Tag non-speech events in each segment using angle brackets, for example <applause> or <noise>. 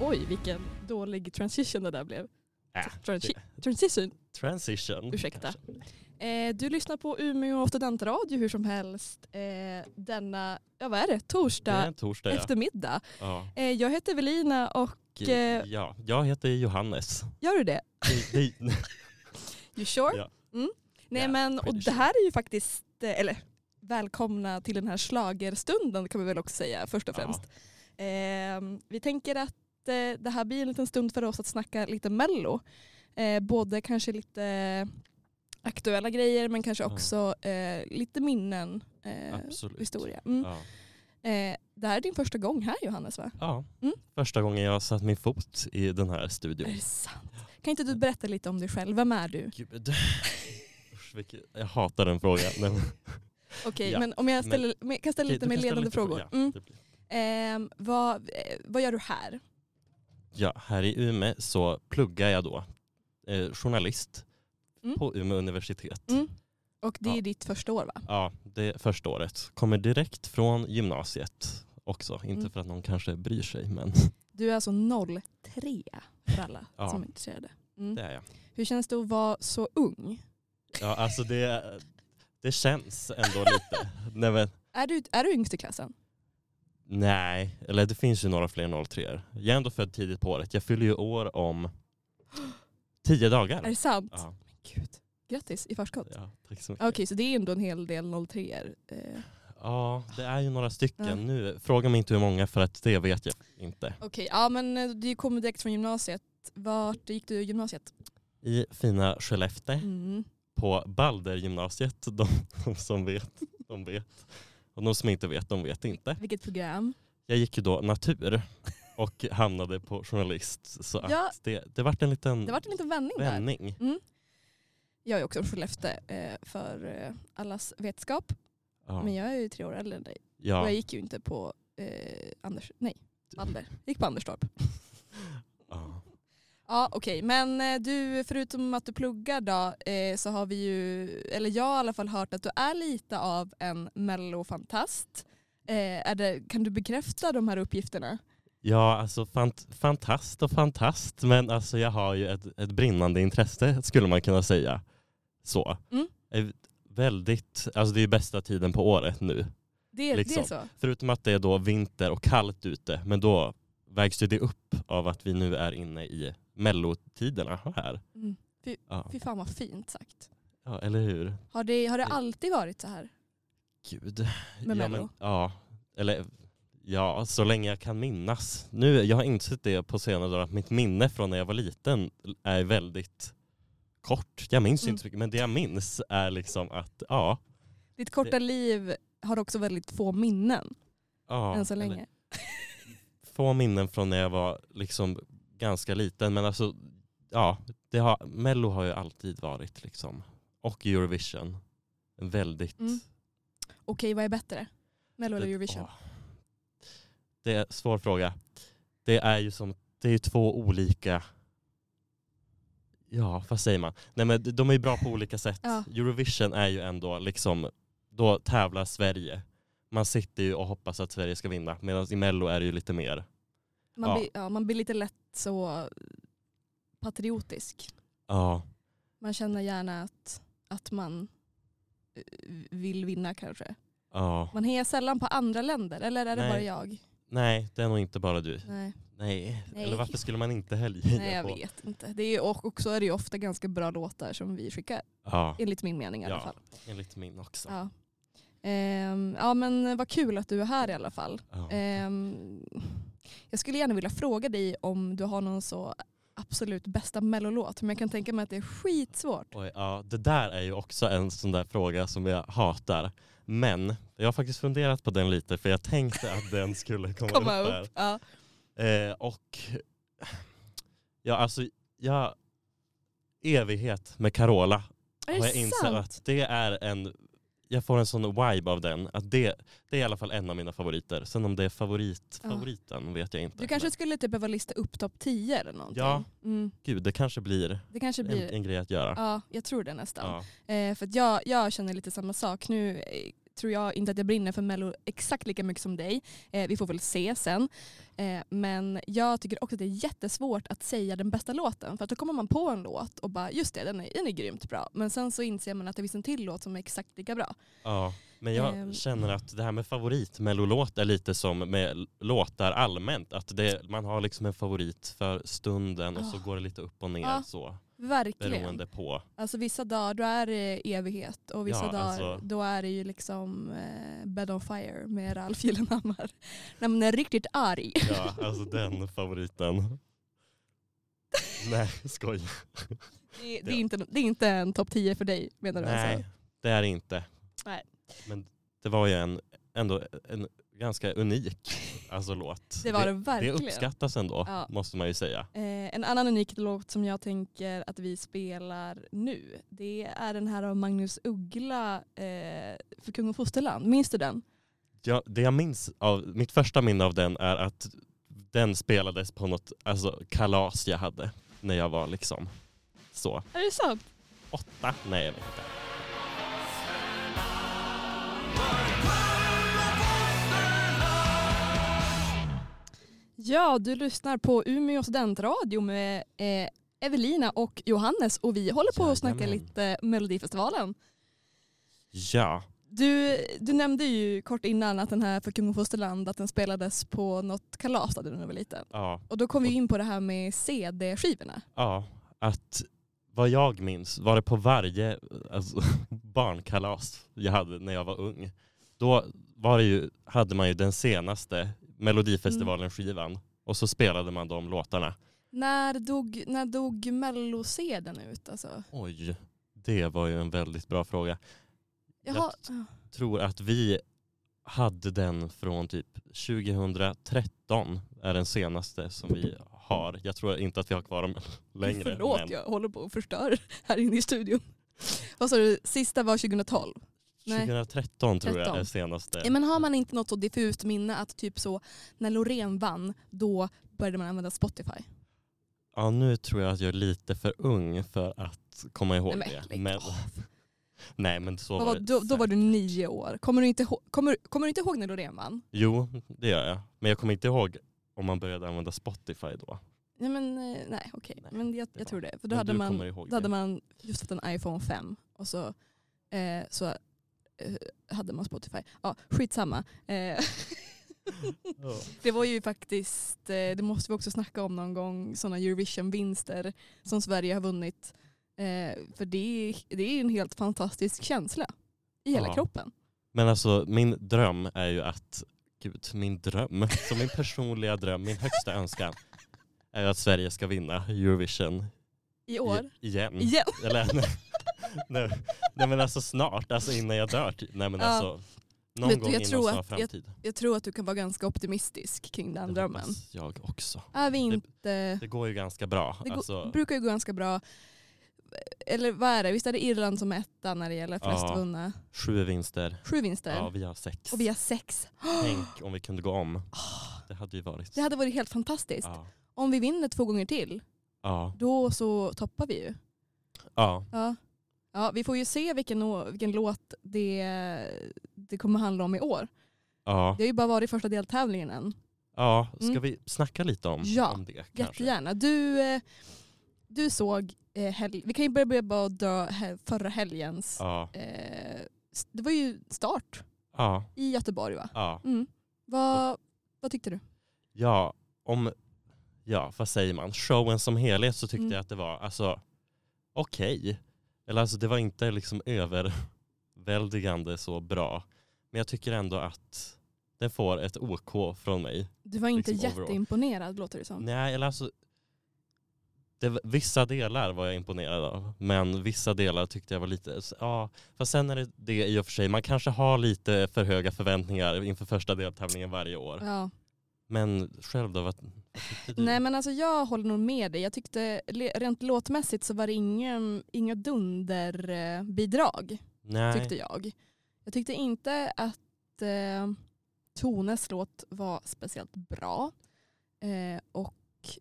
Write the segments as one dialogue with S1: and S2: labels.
S1: Oj, vilken dålig transition det där blev.
S2: Äh,
S1: Transi- transition.
S2: Transition.
S1: Ursäkta.
S2: kanske.
S1: Eh, du lyssnar på Umeå studentradio hur som helst eh, denna, ja vad är det,
S2: Det är
S1: torsdag
S2: en torsdag ja.
S1: eftermiddag.
S2: ja.
S1: Eh, jag heter Evelina och eh,
S2: ja. Jag heter Johannes.
S1: gör du det?
S2: Det-
S1: <laughs> Mm.
S2: det-
S1: You sure?
S2: Ja.
S1: Mm. Nej
S2: Ja,
S1: men, och
S2: pretty
S1: det här är ju faktiskt, eh, eller välkomna till den här slagerstunden kan vi väl också säga först och
S2: Ja.
S1: främst. Ehm, vi tänker att eh, det här blir en liten stund för oss att snacka lite mello. Eh, både kanske lite aktuella grejer men kanske
S2: Ja.
S1: också eh, lite minnen, eh,
S2: Absolut.
S1: historia. Mm.
S2: Ja.
S1: Eh, det här är din första gång här Johannes va?
S2: ja.
S1: Mm.
S2: Första gången jag satt min fot i den här
S1: Är
S2: studion.
S1: det sant? Kan inte du berätta lite om dig själv? Vem är du?
S2: Gud. Usch, vilket- jag hatar den frågan. Nej,
S1: <laughs>
S2: men-
S1: Okej,
S2: Ja,
S1: men om jag
S2: men-
S1: ställer, men, jag kan ställa
S2: Okej,
S1: lite
S2: du
S1: mer
S2: kan ställa
S1: ledande
S2: lite
S1: frågor.
S2: Ja,
S1: Mm.
S2: det blir-
S1: Ehm, vad, eh, vad gör du här?
S2: ja, här i Umeå så pluggar jag då eh, journalist
S1: Mm.
S2: på Umeå universitet.
S1: Mm. Och det är
S2: Ja.
S1: ditt första år va?
S2: Ja, det är första året. Kommer direkt från gymnasiet också. Inte
S1: Mm.
S2: för att någon kanske bryr sig, men
S1: Du är alltså 03 för alla
S2: <laughs> Ja.
S1: som är intresserade. Mm.
S2: det är jag.
S1: Hur känns det att vara så ung?
S2: Ja, alltså det, det känns ändå lite. Nej, men,
S1: Är du, är du yngst i klassen?
S2: nej, eller det finns ju några fler 03 er Jag är ändå född tidigt på året. Jag fyller ju år om tio dagar.
S1: Är det sant?
S2: Ja,
S1: Men gud. Grattis i förskott.
S2: ja, tack så mycket.
S1: Okej, så det är ändå en hel del 03 er eh,
S2: Ja, det är ju några stycken.
S1: Ja.
S2: Nu, fråga mig inte hur många för att det vet jag inte.
S1: Okej, ja men eh, du kommer direkt från gymnasiet. Vart gick du i gymnasiet?
S2: I fina Skellefteå
S1: Mm.
S2: på Baldergymnasiet. De, de som vet, de vet. Och de som inte vet, de vet inte.
S1: Vilket program?
S2: Jag gick ju då natur och <laughs> hamnade på journalist. Så
S1: Ja.
S2: att det, det vart en liten
S1: Det vart en liten vändning där.
S2: vändning.
S1: Jag är också från Skellefteå eh, för eh, allas vetskap.
S2: Ja.
S1: Men jag är ju tre år äldre än dig. Och
S2: ja.
S1: jag gick ju inte på eh, Anders, nej, Balder. Jag gick på Anderstorp.
S2: Ja.
S1: Ja okej, men eh, du förutom att du pluggar då eh, så har vi ju, eller jag har i alla fall hört att du är lite av en mellofantast. Eh, är det, kan du bekräfta de här uppgifterna?
S2: Ja, alltså fant fantast och fantast. Men alltså jag har ju ett, ett brinnande intresse skulle man kunna säga. Så.
S1: Mm.
S2: Eh, Väldigt, alltså det är ju bästa tiden på året nu.
S1: Det, det är
S2: Liksom.
S1: så?
S2: Förutom att det är då vinter och kallt ute. Men då vägs ju det upp av att vi nu är inne i mellotiderna här.
S1: Mm.
S2: Ja,
S1: Fy fan vad fint sagt.
S2: ja eller hur?
S1: Har det, har det
S2: Det-
S1: alltid varit så här?
S2: Gud.
S1: Med
S2: ja,
S1: Mello?
S2: ja, eller ja, så länge jag kan minnas. Nu, jag har insett det på senare dagar att mitt minne från när jag var liten är väldigt kort. Jag minns ju
S1: Mm.
S2: inte så mycket, men det jag minns är liksom att ja.
S1: Ditt korta
S2: Det-
S1: liv har också väldigt få minnen
S2: ja
S1: än så
S2: eller
S1: länge.
S2: Få minnen från när jag var liksom ganska liten, men alltså ja, det har, Mello har ju alltid varit liksom. Och Eurovision. En väldigt...
S1: Mm. Okej, vad är bättre? Mello eller
S2: Det-
S1: Eurovision?
S2: åh. Det är en svår fråga. Det är ju som, det är ju två olika... Ja, vad säger man? Nej men de- de är ju bra på olika sätt.
S1: <laughs> Ja.
S2: Eurovision är ju ändå liksom, då tävlar Sverige. Man sitter ju och hoppas att Sverige ska vinna. Medan i Mello är det ju lite mer,
S1: Man,
S2: ja.
S1: Blir, ja, man blir lite lätt så patriotisk.
S2: ja,
S1: Man känner gärna att, att man eh, vill vinna kanske.
S2: ja.
S1: Man hejar sällan på andra länder, eller är det
S2: Nej.
S1: bara jag?
S2: Nej, det är nog inte bara du.
S1: Nej,
S2: Nej.
S1: Nej.
S2: Eller varför skulle man inte heja
S1: Nej jag
S2: på?
S1: vet inte. Det är, ju- och och så är det ju ofta ganska bra låtar som vi skickar,
S2: Ja,
S1: enligt min mening i alla
S2: Ja.
S1: fall.
S2: enligt min också.
S1: Ja. Ehm, ja men vad kul att du är här i alla fall.
S2: Ja.
S1: Ehm, jag skulle gärna vilja fråga dig om du har någon så absolut bästa mellolåt, men jag kan tänka mig att det är skitsvårt.
S2: Oj, ja, det där är ju också en sån där fråga som jag hatar. Men jag har faktiskt funderat på den lite för jag tänkte att
S1: <laughs>
S2: den skulle komma,
S1: Komma
S2: upp,
S1: upp. Ja.
S2: här. Eh, och ja, alltså jag... Evighet med Carola
S1: Är
S2: har
S1: det
S2: jag insett
S1: sant?
S2: att det är en... Jag får en sån vibe av den. Att det, det är i alla fall en av mina favoriter. Sen om det är favorit,
S1: Ja.
S2: favoriten vet jag inte.
S1: Ah. Du kanske
S2: Men,
S1: skulle typ behöva lista upp topp 10 eller någonting.
S2: Ja.
S1: Mm,
S2: gud, det kanske blir,
S1: det kanske
S2: en,
S1: blir,
S2: en grej att göra.
S1: ja jag tror det nästan.
S2: Ja.
S1: Eh, för att jag, jag känner lite samma sak. Nu eh, tror jag inte att jag brinner för Mello exakt lika mycket som dig. Eh, vi får väl se sen. Eh, men jag tycker också att det är jättesvårt att säga den bästa låten. För att då kommer man på en låt och bara just det, den är, den är grymt bra. Men sen så inser man att det finns en till låt som är exakt lika bra.
S2: Ja, men jag
S1: Ehm.
S2: känner att det här med favoritmellolåt är lite som med l- låtar allmänt. Att det, man har liksom en favorit för stunden och så
S1: Ah.
S2: går det lite upp och ner
S1: Ja,
S2: så.
S1: Verkligen.
S2: Beroende på.
S1: Alltså vissa dagar då är det evighet och vissa
S2: Ja,
S1: dagar
S2: alltså.
S1: då är det ju liksom eh, Bed on Fire med Ralf Gyllenhammar. <laughs> När man är riktigt arg.
S2: Ja,
S1: <laughs>
S2: alltså den favoriten. Nej, skoj.
S1: Det, det,
S2: Ja.
S1: är, inte, det är inte en topp 10 för dig menar du?
S2: Nej,
S1: Alltså?
S2: det är det inte.
S1: Nej.
S2: Men det var ju en, ändå en ganska unik alltså, låt.
S1: Det var det
S2: det
S1: verkligen.
S2: uppskattas ändå,
S1: Ja.
S2: måste man ju säga.
S1: Eh, en annan unik låt som jag tänker att vi spelar nu det är den här av Magnus Uggla eh, För kung och fosterland. Minns du den?
S2: Ja, det jag minns av, mitt första minne av den är att den spelades på något alltså, kalas jag hade när jag var liksom så
S1: Är det sant?
S2: åtta. Nej, jag vet inte.
S1: Ja, du lyssnar på Umeå studentradio med eh, Evelina och Johannes och vi håller på att snacka
S2: Jajamän.
S1: lite Melodifestivalen.
S2: Ja,
S1: Du, du nämnde ju kort innan att den här För kung och fosterland att den spelades på något kalas där du när du var liten.
S2: ja,
S1: Och då kom vi in på det här med CD-skivorna.
S2: ja. Att vad jag minns var det på varje alltså, <laughs> barnkalas jag hade när jag var ung. Då var det ju, hade man ju den senaste Melodifestivalen-skivan och så spelade man de låtarna.
S1: När dog, när dog Mello-CDn ut? Alltså?
S2: Oj, det var ju en väldigt bra fråga.
S1: Jag
S2: Jag
S1: har,
S2: tror att vi hade den från typ 2013 är den senaste som vi har. Jag tror inte att vi har kvar dem <laughs> längre.
S1: förlåt,
S2: men
S1: jag håller på att förstöra här inne i studion. Vad sa du, sista var 2012? nej.
S2: 2013 tror jag är
S1: 13.
S2: senaste.
S1: Ja, men har man inte något så diffust minne att typ så när Loreen vann då började man använda Spotify?
S2: Ja, nu tror jag att jag är lite för ung för att komma ihåg
S1: Nej,
S2: det.
S1: lägg
S2: Men, <laughs> nej men så
S1: Vad
S2: var
S1: var,
S2: det.
S1: då, då var
S2: säkert.
S1: du nio år. Kommer du inte, ihå- kommer, kommer du inte ihåg när Loreen vann?
S2: Jo, det gör jag. Men jag kommer inte ihåg om man började använda Spotify då.
S1: Nej, men, eh, nej okej.
S2: Nej,
S1: Men jag, jag
S2: var-
S1: tror det. För då
S2: Men
S1: hade,
S2: du
S1: man,
S2: kommer ihåg
S1: då hade
S2: det.
S1: man just fått en iPhone 5 och så, eh, så eh, hade man Spotify. Ja, skitsamma. Eh, <laughs>
S2: Ja.
S1: det var ju faktiskt, eh, det måste vi också snacka om någon gång, sådana Eurovision-vinster som Sverige har vunnit. Eh, för det är, det är ju en helt fantastisk känsla i hela
S2: Ja.
S1: kroppen.
S2: Men alltså min dröm är ju att, gud min dröm, som min personliga dröm, min högsta önskan är ju att Sverige ska vinna Eurovision
S1: I
S2: i-
S1: år.
S2: igen.
S1: Igen.
S2: Eller nej, nej, nej men alltså snart, alltså innan jag dör. typ. Nej men
S1: Ja.
S2: alltså någon
S1: Vet du,
S2: gång
S1: jag
S2: inom
S1: tror
S2: snar
S1: att jag-
S2: framtid.
S1: Jag tror att du kan vara ganska optimistisk kring den
S2: Det
S1: drömmen.
S2: hoppas jag också.
S1: Är vi
S2: Det-
S1: inte...
S2: Det går ju ganska bra.
S1: Det går-
S2: alltså,
S1: brukar ju gå ganska bra. Eller vad är det? Visst är det Irland som är etta när det gäller flest
S2: Ja.
S1: vunna?
S2: sju vinster.
S1: Sju vinster.
S2: Ja vi har sex.
S1: Och vi har sex.
S2: Tänk om vi kunde gå
S1: <gasps>
S2: om. Det hade ju varit...
S1: Det hade varit helt fantastiskt.
S2: ja.
S1: Om vi vinner två gånger till,
S2: Ja.
S1: då så toppar vi ju.
S2: ja.
S1: Ja. Ja, vi får ju se vilken, å- vilken låt det, det kommer handla om i år.
S2: ja.
S1: Det har ju bara varit första deltävlingen än.
S2: Ja, ska
S1: Mm.
S2: vi snacka lite om,
S1: Ja,
S2: om det? Kanske?
S1: Jättegärna. Du, eh, du såg, eh, hel- vi kan ju börja med att dra he- förra helgens.
S2: Ja,
S1: Eh, s- det var ju start
S2: ja,
S1: i Göteborg va?
S2: ja.
S1: Mm. Vad, vad tyckte du?
S2: ja, om, ja, vad säger man, showen som helhet så tyckte
S1: Mm.
S2: jag att det var alltså, okej. Eller alltså det var inte liksom överväldigande så bra. Men jag tycker ändå att den får ett OK från mig.
S1: Du var inte
S2: Liksom overall.
S1: jätteimponerad låter det som.
S2: Nej, eller alltså, det, var- vissa delar var jag imponerad av, men vissa delar tyckte jag var lite, ja, fast sen är det det i och för sig, man kanske har lite för höga förväntningar inför första deltävlingen varje år.
S1: Ja.
S2: Men själv då, vad, vad tyckte du?
S1: Nej men alltså jag håller nog med dig. Jag tyckte le- rent låtmässigt så var det ingen, inga dunderbidrag
S2: Nej.
S1: tyckte jag. Jag tyckte inte att eh, Tones låt var speciellt bra. Eh, och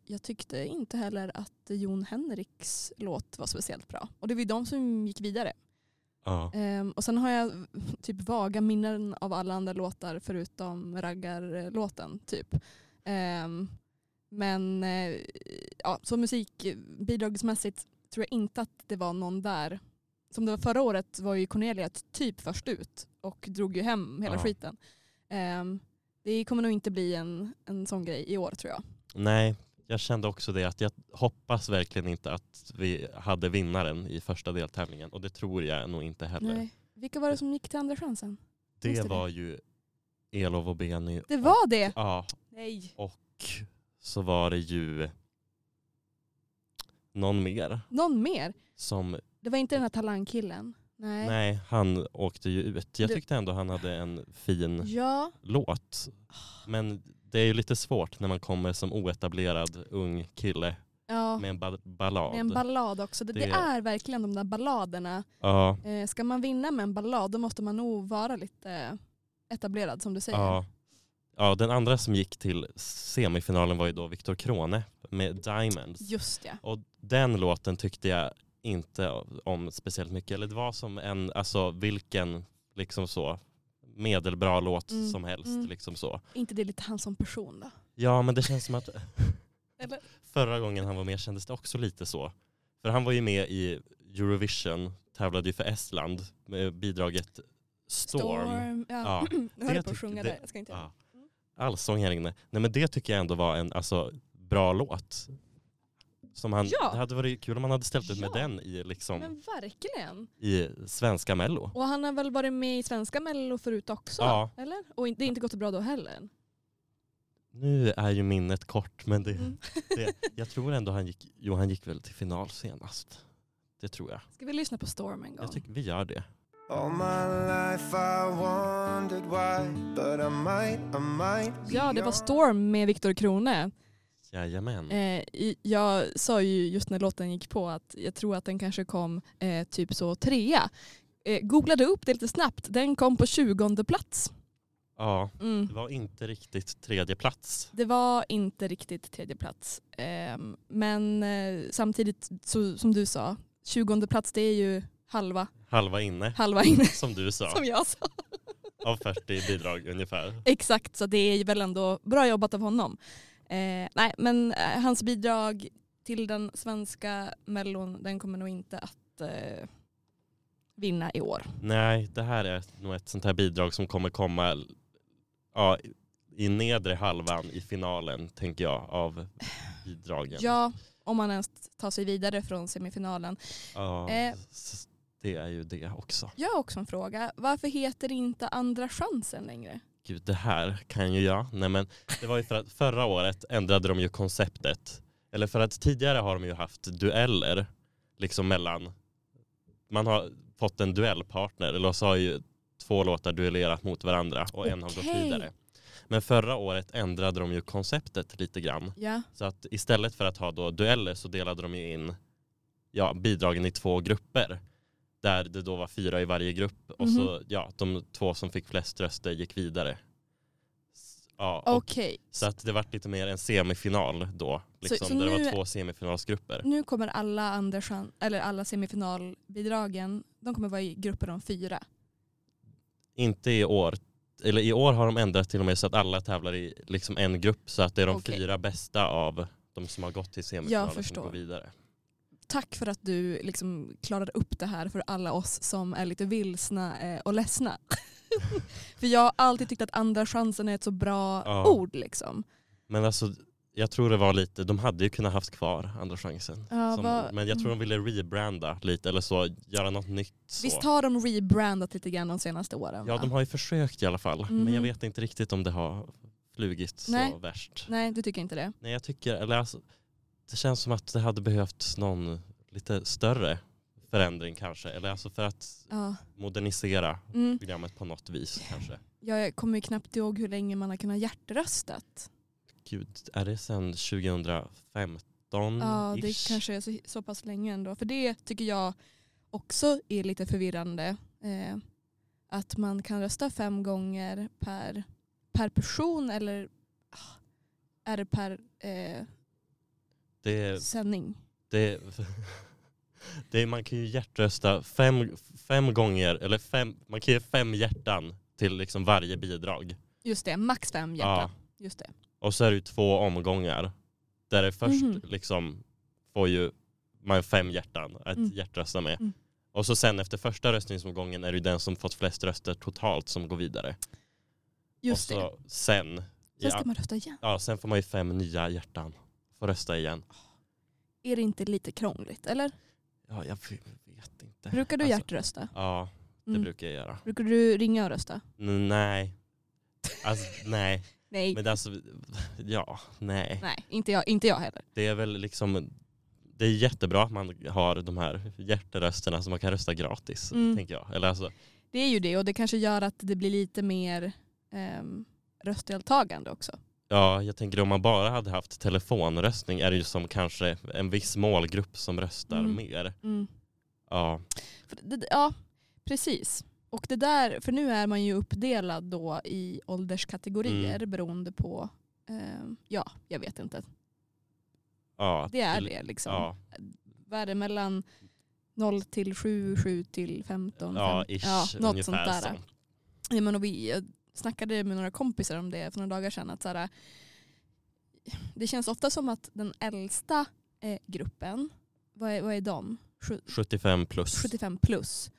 S1: jag tyckte inte heller att Jon Henriks låt var speciellt bra. Och det var ju de som gick vidare.
S2: Ja.
S1: Ehm, och sen har jag <laughs> typ vaga minnen av alla andra låtar förutom raggarlåten typ. Ehm, men eh, ja, så musikbidragsmässigt tror jag inte att det var någon där. Som det var förra året var ju Cornelia typ först ut och drog ju hem hela
S2: Ja.
S1: skiten. Ehm, det kommer nog inte bli en, en sån grej i år tror jag.
S2: Nej, jag kände också det att jag hoppas verkligen inte att vi hade vinnaren i första deltävlingen och det tror jag nog inte heller.
S1: Nej. Vilka var det som gick till andra chansen?
S2: det
S1: just det.
S2: var ju Elov och Beny.
S1: Det
S2: och,
S1: var det!
S2: Ja,
S1: Nej.
S2: och så var det ju någon mer
S1: Någon mer?
S2: som,
S1: Det var inte den här talangkillen? Nej.
S2: nej han åkte ju ut. Jag
S1: Du-
S2: tyckte ändå han hade en fin
S1: Ja.
S2: låt. Men det är ju lite svårt när man kommer som oetablerad ung kille
S1: ja.
S2: med en ba- ballad.
S1: Med en ballad också. Det, det
S2: Det-
S1: är verkligen de där balladerna.
S2: ja,
S1: Eh, ska man vinna med en ballad då måste man nog vara lite etablerad som du säger.
S2: ja. ja, den andra som gick till semifinalen var ju då Viktor Krone med Diamonds.
S1: Just ja.
S2: Och den låten tyckte jag inte om speciellt mycket. Eller det var som en, alltså vilken liksom så medelbra låt
S1: Mm,
S2: som helst.
S1: mm.
S2: Liksom så.
S1: inte det lite han som person då?
S2: Ja men det känns som att
S1: <laughs> Eller?
S2: förra gången han var med kändes det också lite så. För han var ju med i Eurovision, tävlade ju för Estland med bidraget Storm.
S1: Ja. <laughs>
S2: Ja.
S1: Jag höll på
S2: tycker-
S1: att sjunga
S2: det-
S1: där. Jag ska inte göra
S2: Ja. Mm. Allsång här inne. Nej men det tycker jag ändå var en alltså, bra låt. Som han,
S1: Ja.
S2: Det hade varit kul om han hade ställt ut med
S1: Ja.
S2: den i,
S1: det.
S2: liksom,
S1: Men verkligen.
S2: i svenska mello.
S1: Och han har väl varit med i svenska mello förut också?
S2: Ja.
S1: Eller? Och in- det är inte gått så bra då heller?
S2: Nu är ju minnet kort men det,
S1: Mm.
S2: det, jag tror ändå han gick, jo han gick väl till final senast. Det tror jag.
S1: <laughs> Ska vi lyssna på Storm en gång?
S2: Jag tycker vi gör det.
S3: All my life I wondered why, but I might, I might.
S1: Ja,
S3: be
S1: det var
S3: on.
S1: Storm med Viktor Krone.
S2: Jajamän.
S1: Eh, i- jag sa ju just när låten gick på att jag tror att den kanske kom eh, typ så trea. Eh, googlade upp det lite snabbt, den kom på 20 plats.
S2: Ja,
S1: Mm.
S2: det var inte riktigt tredje plats.
S1: Det var inte riktigt tredje plats. Ehm, men eh, samtidigt, så, som du sa, 20 plats det är ju halva,
S2: Halva inne,
S1: halva inne
S2: som du sa,
S1: <laughs> som jag sa.
S2: av 40 bidrag ungefär.
S1: Exakt, så det är väl ändå bra jobbat av honom. Eh, nej, men eh, hans bidrag till den svenska mellon, den kommer nog inte att eh, vinna i år.
S2: Nej, det här är nog ett sånt här bidrag som kommer komma ja, i nedre halvan i finalen, tänker jag, av bidragen.
S1: Ja, om man ens tar sig vidare från semifinalen.
S2: Ja,
S1: eh.
S2: s- det är ju det också.
S1: Jag har också en fråga. Varför heter det inte Andra chansen längre?
S2: Gud, det här kan ju jag. Nej, men det var ju för att förra året ändrade de ju konceptet. Eller för att tidigare har de ju haft dueller liksom mellan. Man har fått en duellpartner eller så har ju två låtar duellerat mot varandra och en har gått
S1: Okej.
S2: vidare. Men förra året ändrade de ju konceptet lite grann.
S1: Ja,
S2: Så att istället för att ha då dueller så delade de ju in ja, bidragen i två grupper. Där det då var fyra i varje grupp och
S1: Mhm.
S2: så ja, de två som fick flest röster gick vidare. S- Ja, och,
S1: okej.
S2: Så att det vart lite mer en semifinal då. Liksom,
S1: så
S2: där det
S1: nu-
S2: var två semifinalsgrupper.
S1: Nu kommer alla, andra chans, eller alla semifinalbidragen, de kommer vara i grupper om fyra.
S2: Inte i år. Eller i år har de ändrat till och med så att alla tävlar i liksom en grupp så att det är de
S1: Okej.
S2: fyra bästa av de som har gått till semifinalen som
S1: förstår.
S2: går vidare.
S1: Tack för att du liksom klarade upp det här för alla oss som är lite vilsna eh, och ledsna. <laughs> för jag har alltid tyckt att andra chansen är ett så bra
S2: Ja.
S1: ord. Liksom.
S2: Men alltså jag tror det var lite, de hade ju kunnat haft kvar andra chansen.
S1: Ja,
S2: Som,
S1: vad- mm.
S2: Men jag tror de ville rebranda lite eller så, göra något nytt. Så.
S1: Visst har de rebrandat lite grann de senaste åren?
S2: ja,
S1: va?
S2: de har ju försökt i alla fall. Men jag
S1: Mhm.
S2: vet inte riktigt om det har flugit
S1: Nej.
S2: så värst. Nej.
S1: Nej, du tycker inte det?
S2: jag tycker, eller alltså, det känns som att det hade behövts någon lite större förändring kanske. Eller alltså för att
S1: Ja.
S2: modernisera
S1: Mm.
S2: programmet på något vis kanske.
S1: Jag kommer ju knappt ihåg hur länge man har kunnat hjärtröstat.
S2: Gud, är det sedan 2015?
S1: Ja, det kanske är så, så pass länge ändå. För det tycker jag också är lite förvirrande. Eh, att man kan rösta fem gånger per, per person eller ah, är det per eh,
S2: Det,
S1: sändning?
S2: det, Det är, man kan ju hjärtrösta fem, fem gånger, eller fem, man kan ge fem hjärtan till liksom varje bidrag.
S1: Just det, max fem hjärtan. Just det.
S2: Och så är det ju två omgångar. Där det först
S1: Mhm.
S2: liksom får ju man fem hjärtan att
S1: Mm.
S2: hjärtrösta med.
S1: Mm.
S2: Och så sen efter första röstningsomgången är det ju den som fått flest röster totalt som går vidare.
S1: Just
S2: och
S1: det.
S2: så sen,
S1: Sen
S2: ja,
S1: ska man rösta igen.
S2: ja, sen får man ju fem nya hjärtan. Får rösta igen.
S1: Är det inte lite krångligt? Eller
S2: Ja, jag vet inte.
S1: brukar du
S2: Alltså,
S1: hjärtrösta?
S2: Ja, det
S1: Mm.
S2: brukar jag göra.
S1: Brukar du ringa och rösta?
S2: N- Nej. Alltså nej.
S1: Nej,
S2: Men alltså, <laughs> ja, nej.
S1: nej inte, jag, inte jag heller.
S2: Det är väl liksom det är jättebra att man har de här hjärterösterna så man kan rösta gratis.
S1: Mm.
S2: tänker jag. Eller alltså,
S1: Det är ju det och det kanske gör att det blir lite mer ehm, röstdeltagande också.
S2: ja, jag tänker om man bara hade haft telefonröstning är det ju som kanske en viss målgrupp som röstar
S1: Mm.
S2: mer.
S1: Mm.
S2: Ja,
S1: För det, ja, precis. Och det där, för nu är man ju uppdelad då i ålderskategorier
S2: Mm.
S1: beroende på, ehm, ja jag vet inte.
S2: ja,
S1: Det är det liksom.
S2: Ja,
S1: Vad är det mellan 0 till 7, 7 till 15?
S2: ja,
S1: 15
S2: ish,
S1: ja något sånt där.
S2: ungefär sånt.
S1: Ja, men och vi jag snackade med några kompisar om det för några dagar sedan. Att så här, det känns ofta som att den äldsta eh, gruppen, vad är, vad är de? Sju-
S2: 75 plus.
S1: 75 plus.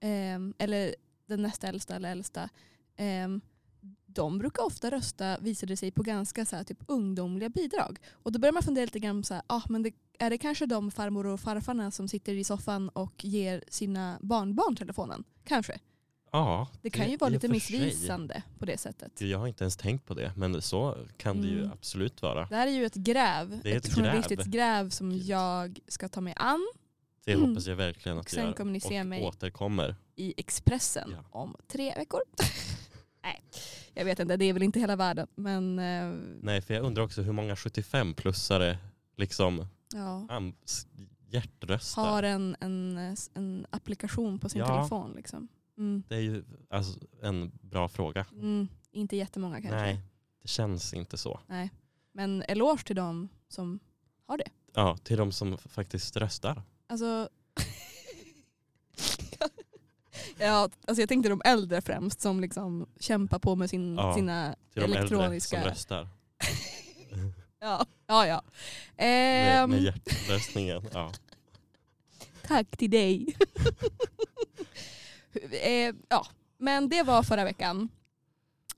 S1: Ehm, eller den nästa äldsta eller äldsta. Ehm, de brukar ofta rösta, visar det sig, på ganska så här, typ ungdomliga bidrag. Och då börjar man fundera lite grann så här, ah, men det, är det kanske de farmor och farfarna som sitter i soffan och ger sina barnbarn telefonen? Kanske.
S2: Ja,
S1: Det kan ju
S2: i
S1: vara
S2: och
S1: lite
S2: för sig.
S1: missvisande på det sättet.
S2: Gud, Jag har inte ens tänkt på det, men så kan det ju
S1: Mm.
S2: absolut vara.
S1: Det här är ju ett gräv,
S2: Det är
S1: ett,
S2: ett
S1: journalistiskt
S2: gräv.
S1: gräv som
S2: Gud.
S1: jag ska ta mig an
S2: Det
S1: Mm.
S2: hoppas jag verkligen att
S1: Och
S2: du
S1: sen
S2: gör.
S1: kommer ni se
S2: och
S1: mig.
S2: återkommer.
S1: i Expressen
S2: Ja.
S1: om tre
S2: <laughs>
S1: veckor. Nej, jag vet inte, det är väl inte hela världen. Men eh,
S2: Nej, för jag undrar också hur många 75-plussare liksom
S1: ja,
S2: am- s- hjärtröstar.
S1: har en, en, en applikation på sin
S2: Ja.
S1: telefon. Liksom. Mm.
S2: Det är ju alltså, en bra fråga.
S1: Mm. Inte jättemånga kanske.
S2: Nej, det känns inte så.
S1: Men eloge till dem som har det.
S2: Ja, till de som f- faktiskt röstar.
S1: Alltså, <laughs> ja, alltså jag tänkte de äldre främst som liksom kämpar på med sin,
S2: Ja,
S1: sina
S2: Till de äldre som
S1: elektroniska...
S2: röstar.
S1: Ja, ja. ja.
S2: Med, med
S1: Ehm,
S2: hjärtröstningen.
S1: <laughs>
S2: Ja.
S1: tack till dig. <laughs> eh, ja, men det var förra veckan.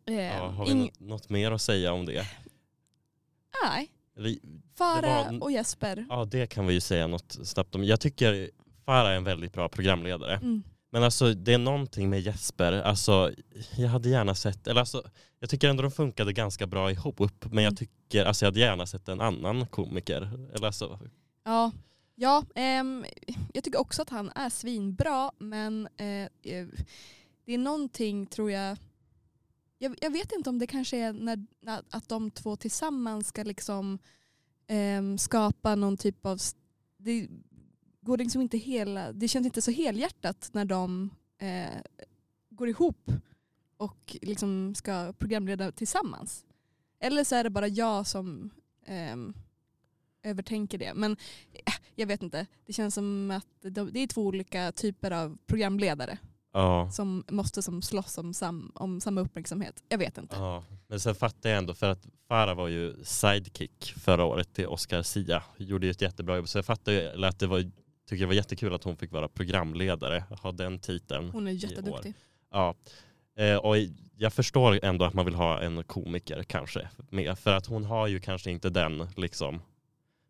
S1: Eh,
S2: Ja, har vi
S1: ing-
S2: något, något mer att säga om det?
S1: Nej,
S2: Eller,
S1: Farah
S2: Det var-
S1: och Jesper.
S2: ja, det kan vi ju säga något snabbt om. Jag tycker Farah är en väldigt bra programledare.
S1: Mm.
S2: Men alltså det är någonting med Jesper, alltså jag hade gärna sett, eller alltså jag tycker ändå de funkade ganska bra ihop men
S1: Mm.
S2: jag tycker, alltså jag hade gärna sett en annan komiker. Eller alltså,
S1: Ja, ja ehm, jag tycker också att han är svinbra men eh, eh, det är någonting tror jag jag, jag vet inte om det kanske är när, när, att de två tillsammans ska liksom ehm, skapa någon typ av... s- Det går liksom inte hela... Det känns inte så helhjärtat när de eh, går ihop och liksom ska programleda tillsammans. Eller så är det bara jag som ehm, övertänker det. Men eh, jag vet inte. Det känns som att de, det är två olika typer av programledare
S2: ja,
S1: som måste som slåss om, sam, om samma uppmärksamhet. Jag vet inte.
S2: ja. Men sen fattar jag ändå för att Farah var ju sidekick förra året till Oscar Sia, gjorde ju ett jättebra jobb så jag fattar ju, eller att det var, tycker det var jättekul att hon fick vara programledare, ha den titeln.
S1: Hon är jätteduktig.
S2: Ja. Eh, och jag förstår ändå att man vill ha en komiker kanske med. För att hon har ju kanske inte den liksom.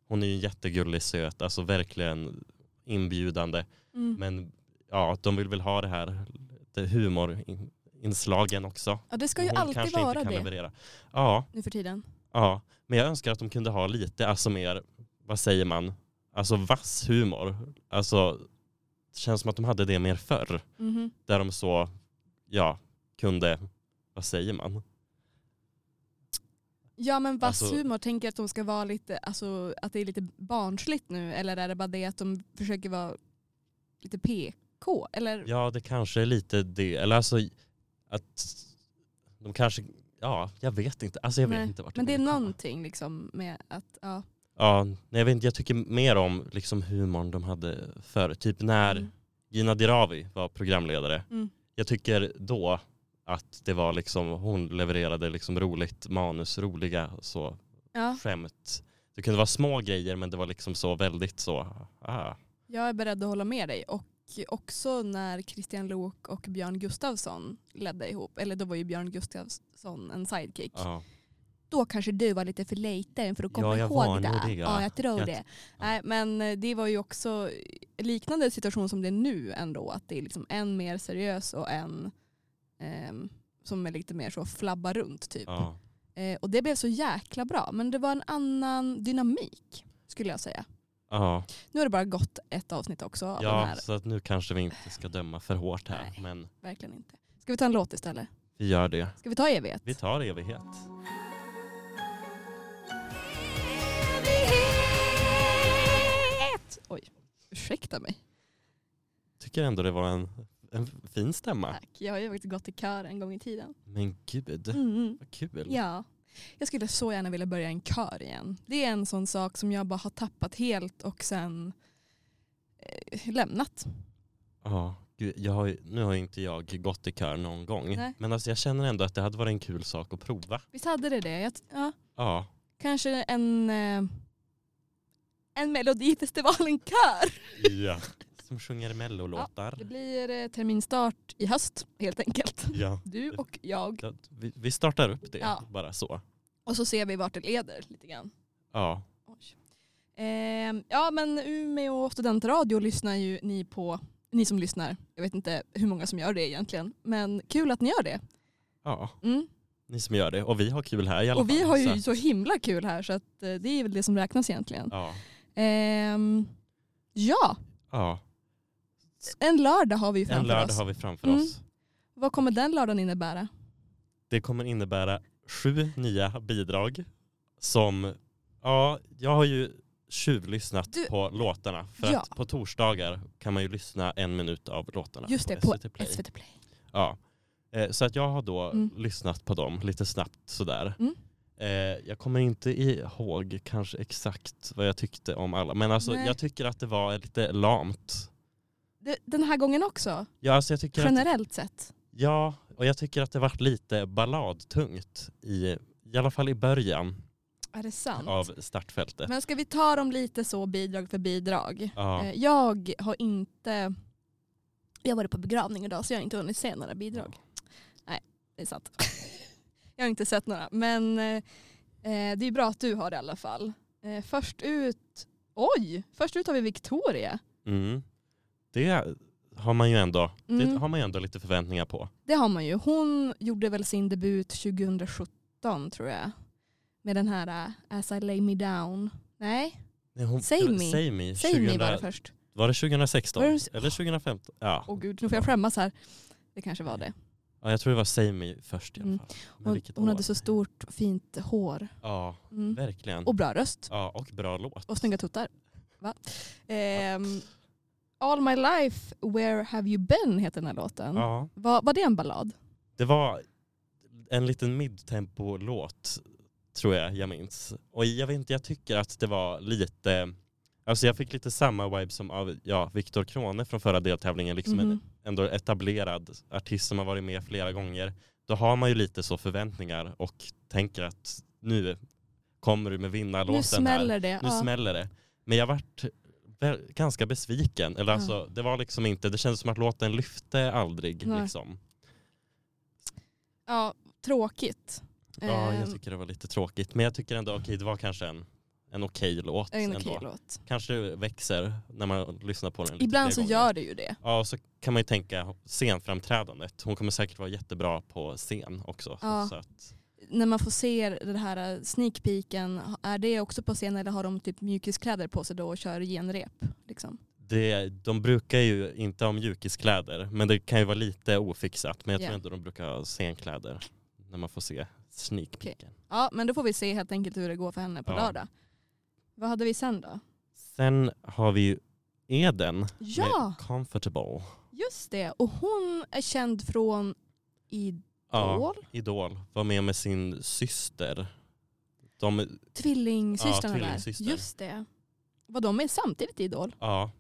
S2: Hon är ju jättegullig söt, alltså verkligen inbjudande.
S1: Mm.
S2: Men ja, de vill väl ha det här det humorinslagen också.
S1: Ja, det ska ju
S2: Hon
S1: alltid
S2: kanske
S1: vara
S2: inte kan
S1: det
S2: leverera. Ja,
S1: nu för tiden.
S2: ja, men jag önskar att de kunde ha lite, alltså mer, vad säger man, alltså vass humor. Alltså, det känns som att de hade det mer förr
S1: Mhm.
S2: där de så, ja, kunde, vad säger man?
S1: Ja men vass
S2: Alltså-
S1: humor, tänker jag att de ska vara lite, alltså att det är lite barnsligt nu eller är det bara det att de försöker vara lite PK? Eller
S2: Ja, det kanske är lite det, eller alltså att de kanske, ja, jag vet inte, alltså jag vet
S1: Nej,
S2: inte vart
S1: Men det är
S2: vill komma.
S1: någonting liksom med att, ja.
S2: Ja, nej, jag, vet inte, jag tycker mer om liksom humorn de hade förr. Typ när
S1: Mm.
S2: Gina Dirawi var programledare.
S1: Mm.
S2: Jag tycker då att det var liksom, hon levererade liksom roligt manus, roliga så
S1: Ja,
S2: skämt. Det kunde vara små grejer men det var liksom så väldigt så, ah,
S1: jag är beredd att hålla med dig. Och också när Christian Lok och Björn Gustafsson ledde ihop, eller då var ju Björn Gustafsson en sidekick.
S2: ja.
S1: Då kanske du var lite för liten för att komma
S2: Ja, jag var
S1: ihåg
S2: nog
S1: det.
S2: det, ja.
S1: Ja, jag tror
S2: Jag-
S1: det. Nej, men eh, det var ju också liknande situation som det är nu ändå. Att det är liksom en mer seriös och en ehm, som är lite mer så flabba runt typ.
S2: ja.
S1: Eh, och det blev så jäkla bra. Men det var en annan dynamik skulle jag säga.
S2: ja.
S1: Nu har det bara gått ett avsnitt också av den
S2: ja
S1: här.
S2: så att nu kanske vi inte ska döma för hårt här
S1: Nej.
S2: men
S1: Verkligen inte. Ska vi ta en låt istället?
S2: vi gör det.
S1: Ska vi ta evighet?
S2: Vi tar evighet.
S1: Evighet! Oj, ursäkta mig.
S2: Tycker ändå det var en, en fin stämma.
S1: Tack. Jag har ju faktiskt gått i kör en gång i tiden.
S2: Men gud,
S1: Mm.
S2: vad kul.
S1: Ja. Jag skulle så gärna vilja börja en kör igen. Det är en sån sak som jag bara har tappat helt och sen eh, lämnat.
S2: Ja, gud, jag har, ju- nu har ju inte jag gått i kör någon gång.
S1: Nej.
S2: Men alltså, jag känner ändå att det hade varit en kul sak att prova.
S1: Visst hade det det? Jag, t- ja.
S2: Ja,
S1: Kanske en, eh, en melodifestivalen-kör.
S2: ja. som sjunger mellolåtar.
S1: Det blir eh, terminstart i höst helt enkelt.
S2: Ja.
S1: Du och jag.
S2: Ja, Vi, vi startar upp det
S1: Ja.
S2: bara så.
S1: Och så ser vi vart det leder lite grann.
S2: Ja,
S1: Oj. Ehm, ja men Umeå studentradio lyssnar ju ni på, ni som lyssnar. Jag vet inte hur många som gör det egentligen. Men kul att ni gör det.
S2: ja,
S1: Mm.
S2: ni som gör det. Och vi har kul här i alla
S1: Och vi
S2: fall,
S1: har ju
S2: att-
S1: så himla kul här så att eh, det är väl det som räknas egentligen.
S2: Ja,
S1: Ehm, ja,
S2: ja.
S1: en lördag har vi ju
S2: en
S1: framför
S2: lördag
S1: oss.
S2: har vi framför
S1: Mm.
S2: oss.
S1: Vad kommer den lördagen innebära?
S2: Det kommer innebära sju nya bidrag som, ja, jag har ju tjuvlyssnat
S1: Du-
S2: på låtarna. För
S1: Ja.
S2: att på torsdagar kan man ju lyssna en minut av låtarna
S1: Just
S2: på
S1: det, på
S2: SVT Play.
S1: SVT Play.
S2: Ja. Eh, Så att jag har då
S1: Mm.
S2: lyssnat på dem lite snabbt sådär.
S1: Mm.
S2: Eh, Jag kommer inte ihåg kanske exakt vad jag tyckte om alla, men alltså,
S1: Nej.
S2: jag tycker att det var lite lamt.
S1: Det- Den här gången också,
S2: Ja, alltså jag tycker att,
S1: generellt sett.
S2: ja, och jag tycker att det vart lite balladtungt i, i alla fall i början
S1: Är det sant?
S2: av startfältet.
S1: Men ska vi ta dem lite så bidrag för bidrag?
S2: ja.
S1: Eh, Jag har inte... Jag har varit på begravning idag så jag har inte hunnit se några bidrag. Nej, det är sant. <laughs> jag har inte sett några. Men eh, eh, det är bra att du har det i alla fall. Eh, först ut... Oj! Först ut har vi Victoria.
S2: Mm. Det har man ju ändå, det
S1: Mm.
S2: har man ju ändå lite förväntningar på.
S1: Det har man ju. Hon gjorde väl sin debut 2017 tror jag. Med den här eh, As I lay me down. Nej,
S2: Nej, hon-
S1: Save Me.
S2: Save me.
S1: säg
S2: 2000
S1: me var det först.
S2: var det 2016?
S1: Var det-
S2: Eller 2015? Ja.
S1: Åh gud, nu får jag skämmas här. Det kanske var det.
S2: Ja, jag tror det var Save Me först i alla
S1: Mm.
S2: fall. Men
S1: Hon,
S2: vilket
S1: hon
S2: år?
S1: hade så stort fint hår.
S2: Ja,
S1: Mm.
S2: verkligen.
S1: Och bra röst.
S2: ja, och bra låt.
S1: Och snygga tuttar. Va? Ehm, All my life, where have you been heter den här låten.
S2: Ja,
S1: Var, var det en ballad?
S2: det var en liten midtempo-låt tror jag jag minns. Och jag vet inte, jag tycker att det var lite, alltså jag fick lite samma vibe som av ja, Viktor Krone från förra deltävlingen, liksom en
S1: Mhm.
S2: ändå etablerad artist som har varit med flera gånger. Då har man ju lite så förväntningar och tänker att nu kommer du med
S1: Nu
S2: vinnarlåten här.
S1: smäller det.
S2: nu
S1: ja.
S2: smäller det. Men jag vart väl- ganska besviken. Eller alltså, Det var liksom inte, det kändes som att låten lyfte aldrig.
S1: Nej.
S2: Liksom.
S1: ja, tråkigt.
S2: Ja, jag
S1: Ehm,
S2: tycker det var lite tråkigt. Men jag tycker ändå, okej det var kanske en, en okej låt.
S1: en
S2: ändå.
S1: okej låt.
S2: Kanske det växer när man lyssnar på den. lite
S1: Ibland
S2: fler
S1: så
S2: gånger.
S1: gör det ju det.
S2: Ja, så kan man ju tänka scenframträdandet. Hon kommer säkert vara jättebra på scen också.
S1: Ja.
S2: Så att,
S1: När man får se den här sneakpeaken, är det också på scen eller har de typ mjukiskläder på sig då och kör genrep? Liksom?
S2: det, de brukar ju inte ha mjukiskläder, men det kan ju vara lite ofixat. Men jag tror
S1: Ja.
S2: ändå de brukar ha scenkläder när man får se sneak
S1: Okej.
S2: peeken.
S1: Ja, men då får vi se helt enkelt hur det går för henne på
S2: Ja.
S1: lördag. Vad hade vi sen då?
S2: Sen har vi ju Eden
S1: Ja!
S2: med Comfortable.
S1: Just det, och hon är känd från Idol.
S2: Idol. Var med med sin syster. De,
S1: Tvillingsystrarna
S2: Ja,
S1: där.
S2: tvillingsyster.
S1: Just det. Vad de är samtidigt i Idol.
S2: ja,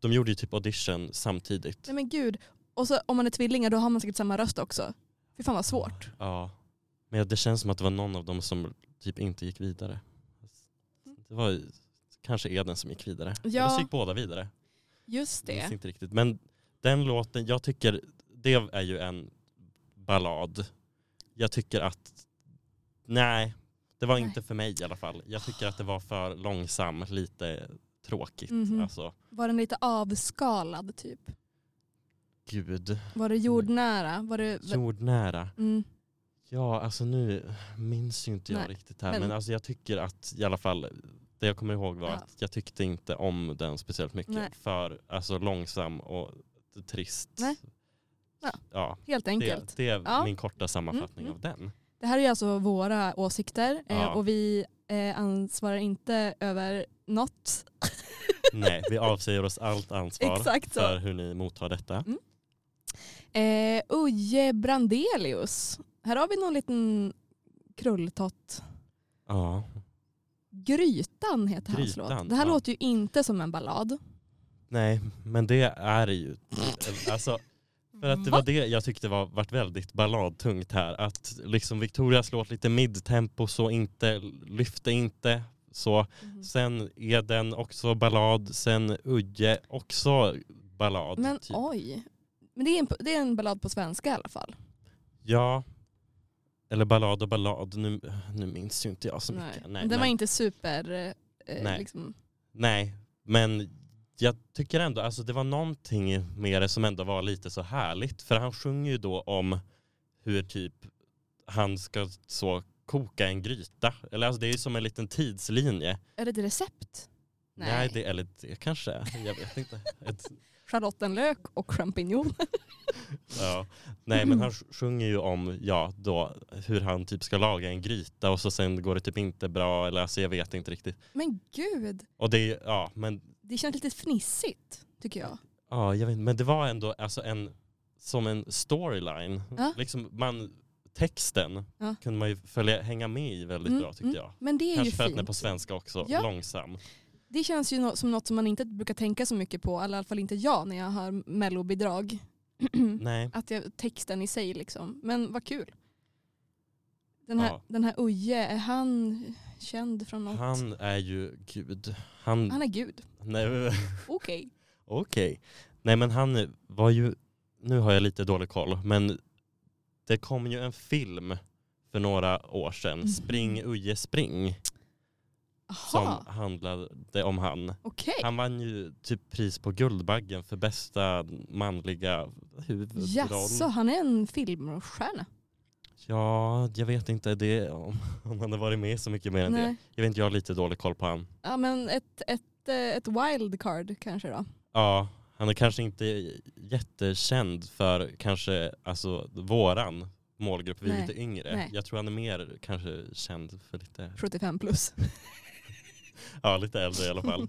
S2: de gjorde ju typ audition samtidigt.
S1: Nej men gud. Och så om man är tvillingar då har man säkert samma röst också. Fy fan vad svårt.
S2: Ja. Men det känns som att det var någon av dem som typ inte gick vidare. Det var ju- kanske Eden som gick vidare.
S1: Ja.
S2: Eller så gick båda vidare.
S1: Just
S2: Jag minns inte riktigt. Men den låten, jag tycker, det är ju en ballad. Jag tycker att, nej, det var
S1: Nej.
S2: inte för mig i alla fall. Jag tycker att det var för långsam, lite tråkigt.
S1: Mhm.
S2: Alltså,
S1: Var den lite avskalad typ?
S2: gud.
S1: Var det jordnära? Var det...
S2: Jordnära.
S1: Mm.
S2: Ja, alltså nu minns ju inte jag
S1: Nej,
S2: riktigt här.
S1: men-
S2: Men, alltså jag tycker att i alla fall, det jag kommer ihåg var
S1: Ja.
S2: att jag tyckte inte om den speciellt mycket.
S1: Nej.
S2: För alltså långsam och trist.
S1: Nej. Ja.
S2: ja
S1: Helt enkelt.
S2: det, det är
S1: Ja.
S2: min korta sammanfattning
S1: Mm,
S2: av den.
S1: Det här är ju alltså våra åsikter eh,
S2: Ja.
S1: och vi eh, ansvarar inte över
S2: <laughs>
S1: något.
S2: Nej, vi avsäger oss allt
S1: <laughs>
S2: ansvar
S1: Exakt så.
S2: för hur ni mottar detta.
S1: Eh, Uje Brandelius. Här har vi någon liten krulltott.
S2: Ja,
S1: Grytan heter hans
S2: Grytan,
S1: låt. Det här
S2: ja.
S1: låter ju inte som en ballad.
S2: nej, men det är ju, alltså För att det
S1: Va?
S2: var det jag tyckte var, vart väldigt balladtungt här. Att liksom Victorias låt lite midtempo så inte, lyfte inte så.
S1: Mhm.
S2: Sen är den också ballad, sen Uje också ballad.
S1: Men
S2: typ.
S1: oj. Men det är, en, det är en ballad på svenska i alla fall.
S2: Ja. Eller ballad och ballad, nu, nu minns ju inte jag så mycket.
S1: Nej, den var
S2: men,
S1: inte super... Eh,
S2: Nej.
S1: Liksom.
S2: nej, men jag tycker ändå, alltså det var någonting med det som ändå var lite så härligt. För han sjunger ju då om hur typ han ska så koka en gryta. Eller alltså det är ju som en liten tidslinje.
S1: Är det ett recept?
S2: Nej, det, eller det kanske är. Jag vet inte. Ett,
S1: Charlottenlök och champinjoner.
S2: ja. Nej men han sj- sjunger ju om ja, då, hur han typ ska laga en gryta och så sen går det typ inte bra. Eller alltså jag vet inte riktigt.
S1: Men gud,
S2: Och det är ju- ja men,
S1: det känns lite fnissigt tycker jag.
S2: ja, jag vet, inte. men det var ändå alltså en, som en storyline.
S1: Ja.
S2: Liksom man, texten
S1: Ja.
S2: kunde man ju följa, hänga med i väldigt
S1: Mm,
S2: bra tyckte
S1: mm.
S2: jag.
S1: Men det är
S2: Kanske
S1: ju
S2: för att
S1: fint.
S2: den är på svenska också,
S1: Ja. Mm.
S2: långsam.
S1: Det känns ju nå- som något som man inte brukar tänka så mycket på, eller i alla fall inte jag när jag hör mellobidrag.
S2: <clears throat> Nej.
S1: att jag, texten i sig liksom. Men vad kul. Den här,
S2: Ja.
S1: den här Uje, är han känd från något? Han,
S2: Han är ju gud. Han,
S1: är gud.
S2: nej, <laughs>
S1: Okej.
S2: okej. Nej men han var ju, nu har jag lite dålig koll, men det kom ju en film för några år sedan,
S1: Mhm.
S2: Spring Uje Spring,
S1: Jaha,
S2: som handlade om han.
S1: okej.
S2: Han vann ju typ pris på Guldbaggen för bästa manliga huvudroll.
S1: Jaså, han är en filmstjärna?
S2: Ja, jag vet inte det, om, <laughs> om han har varit med så mycket mer än det.
S1: Nej.
S2: Jag vet inte, jag har lite dålig koll på han.
S1: Ja men ett, ett, eh, ett wildcard kanske då.
S2: Ja, han är kanske inte jättekänd för kanske alltså våran målgrupp, vi är
S1: Nej,
S2: lite yngre.
S1: nej.
S2: Jag tror han är mer kanske känd för lite,
S1: 75 plus.
S2: ja lite äldre i
S1: <laughs>
S2: alla fall.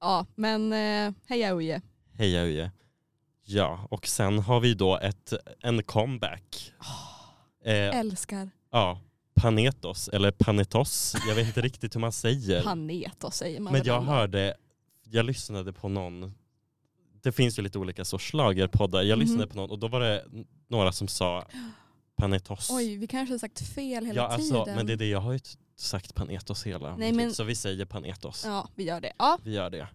S1: Ja men eh, heja Uje.
S2: Heja Uje. Ja, och sen har vi då ett, en comeback.
S1: Ah.
S2: Eh,
S1: Älskar
S2: ja, Panetos, eller Panetos, jag vet inte riktigt hur man säger.
S1: Panetos säger man
S2: Men
S1: väl
S2: jag
S1: ändå.
S2: hörde, jag lyssnade på någon, det finns ju lite olika sorts schlagerpoddar. Jag
S1: Mhm.
S2: lyssnade på någon och då var det några som sa Panetos.
S1: Oj vi kanske har sagt fel hela
S2: ja, alltså,
S1: tiden.
S2: men det är det, jag har ju t- sagt Panetos hela
S1: Nej,
S2: mitt
S1: men-
S2: liv, så vi säger Panetos.
S1: Ja vi gör det. Ja,
S2: Vi gör det.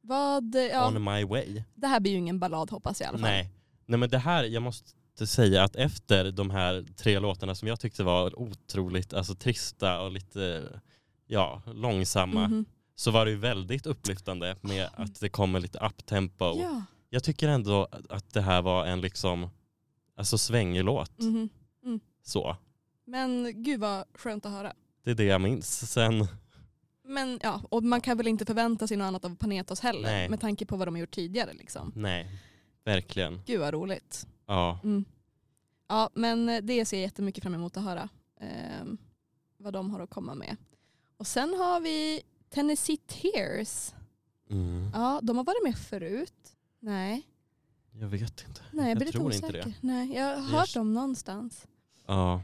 S1: vad, ja,
S2: On my way.
S1: det här blir ju ingen ballad hoppas jag i alla fall.
S2: Nej. Nej men det här, jag måste säga att efter de här tre låtarna som jag tyckte var otroligt alltså, trista och lite ja, långsamma
S1: Mhm.
S2: så var det ju väldigt upplyftande med att det kommer lite uptempo.
S1: Ja.
S2: Jag tycker ändå att det här var en liksom alltså svängig låt.
S1: mhm.
S2: Så.
S1: Men gud vad skönt att höra.
S2: Det är det jag minns. Sen,
S1: Men ja, och man kan väl inte förvänta sig något annat av Panetos heller
S2: Nej.
S1: med tanke på vad de har gjort tidigare liksom.
S2: nej. Verkligen.
S1: Gud vad roligt.
S2: Ja.
S1: Mm. Ja, men det ser jag jättemycket fram emot att höra. ehm, vad de har att komma med. Och sen har vi Tennessee Tears.
S2: Mm.
S1: Ja, de har varit med förut. Nej,
S2: Jag vet inte.
S1: nej jag
S2: jag
S1: blir lite
S2: tror
S1: osäker.
S2: inte det.
S1: Nej, jag har
S2: Jag-
S1: hört dem någonstans.
S2: Ja.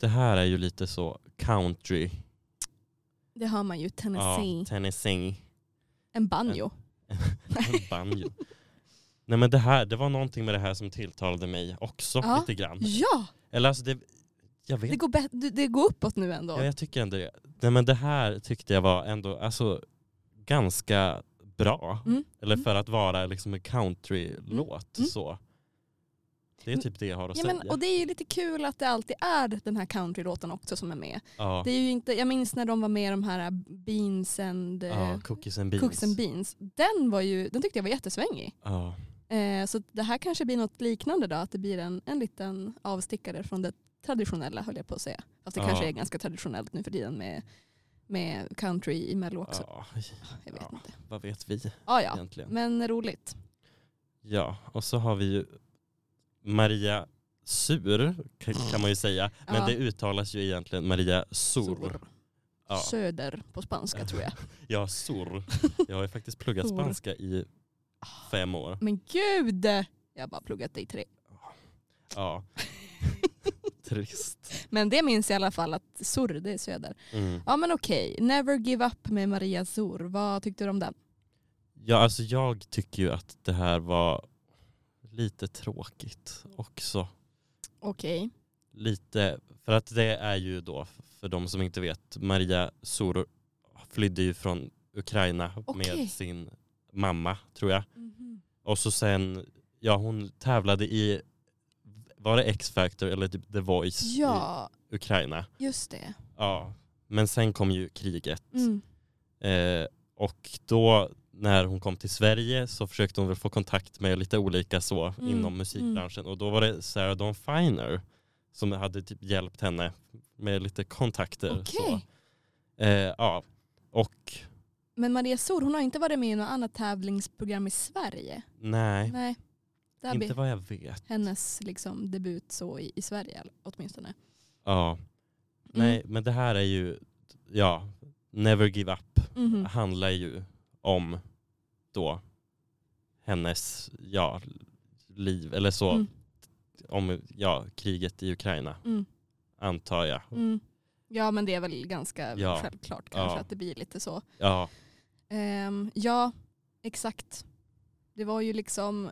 S2: Det här är ju lite så country
S1: Det har man ju, Tennessee.
S2: Ja, Tennessee.
S1: en banjo.
S2: En banjo. Nej men det här, det var någonting med det här som tilltalade mig också
S1: Ja.
S2: lite grann.
S1: Ja,
S2: Eller alltså det, jag vet
S1: det går, bet- det- det går uppåt nu ändå.
S2: Ja, jag tycker ändå det. Nej, men det här tyckte jag var ändå alltså, ganska bra.
S1: Mm.
S2: Eller
S1: Mm.
S2: för att vara liksom en countrylåt.
S1: Mm.
S2: Så. Det är
S1: Mm.
S2: typ det jag har att
S1: Ja,
S2: säga.
S1: men, och det är ju lite kul att det alltid är den här countrylåten också som är med.
S2: ja.
S1: Det är ju inte, jag minns när de var med i de här Beans and, eh,
S2: ja, cookies and beans.
S1: Cooks and Beans. Den, var ju, den tyckte jag var jättesvängig.
S2: Ja.
S1: Eh, så det här kanske blir något liknande då, att det blir en, en liten avstickare från det traditionella höll jag på att säga. Fast det
S2: Ja.
S1: kanske är ganska traditionellt nu för tiden med, med country i Mello också.
S2: Ja.
S1: Jag vet
S2: Ja.
S1: inte.
S2: Vad vet vi
S1: Ah, ja,
S2: egentligen?
S1: men roligt.
S2: Ja, och så har vi ju Maria Sur kan, kan man ju säga. Men
S1: Ja.
S2: det uttalas ju egentligen Maria Sur. Ja.
S1: Söder på spanska tror jag.
S2: ja, Sur.
S1: <laughs>
S2: Jag har ju faktiskt pluggat
S1: Sur.
S2: spanska i fem år.
S1: Men gud! Jag har bara pluggat det i tre.
S2: Ja.
S1: <laughs>
S2: Trist.
S1: Men det minns jag i alla fall att Sur, det är söder.
S2: Mm.
S1: Ja men okej, Never Give Up med Maria Sur. Vad tyckte du om den?
S2: Ja, alltså jag tycker ju att det här var lite tråkigt också.
S1: Okej.
S2: Lite, för att det är ju då, för de som inte vet, Maria Soro flydde ju från Ukraina
S1: Okej.
S2: med sin mamma tror jag. Och så sen, ja hon tävlade i, var det X-Factor eller typ The Voice
S1: Ja,
S2: i Ukraina?
S1: just det.
S2: Ja. Men sen kom ju kriget.
S1: Mm.
S2: Eh, och då när hon kom till Sverige så försökte hon väl få kontakt med lite olika så
S1: Mm,
S2: inom musikbranschen. Och då var det Sarah Dawn Finer som hade typ hjälpt henne med lite kontakter.
S1: Okej.
S2: Så. Eh, ja. Och
S1: Men Maria Sur, hon har inte varit med i något annat tävlingsprogram i Sverige?
S2: nej,
S1: Nej. Det här
S2: inte
S1: blir
S2: vad jag vet.
S1: hennes liksom, debut så i, i Sverige åtminstone. Mm.
S2: Ja. Nej, men det här är ju, ja, Never Give Up
S1: Mhm.
S2: handlar ju om då hennes, ja, liv eller så.
S1: Mm.
S2: om ja, kriget i Ukraina,
S1: Mm.
S2: antar jag.
S1: Mm. Ja men det är väl ganska
S2: Ja.
S1: självklart kanske
S2: Ja.
S1: att det blir lite så.
S2: Ja,
S1: Ehm, ja, exakt. Det var ju liksom,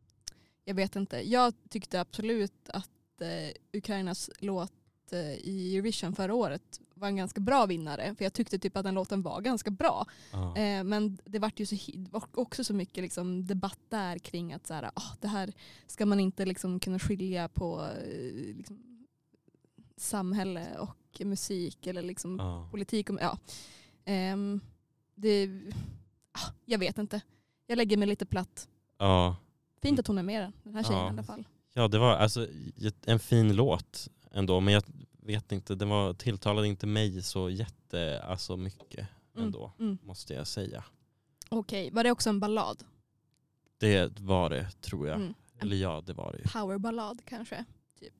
S1: <sighs> jag vet inte. Jag tyckte absolut att eh, Ukrainas låt eh, i Eurovision förra året var en ganska bra vinnare. För jag tyckte typ att den låten var ganska bra.
S2: ja,
S1: Eh, men det vart ju så, hi- det var också så mycket liksom debatt där kring att så här, ah, det här ska man inte liksom kunna skilja på eh, liksom, samhälle och musik eller liksom
S2: ja.
S1: politik. Om, ja. Ehm, det, ah, jag vet inte. Jag lägger mig lite platt.
S2: ja.
S1: Fint att hon är med den, den här tjejen
S2: Mm. Ja.
S1: i alla fall.
S2: ja det var alltså j- en fin låt ändå, men jag vet inte, den var, tilltalade inte mig så jätte, alltså mycket
S1: Mm,
S2: ändå,
S1: mm.
S2: måste jag säga.
S1: Okej, var det också en ballad?
S2: Det var det, tror jag.
S1: Mm.
S2: Eller ja, det var det ju.
S1: Powerballad kanske? Typ.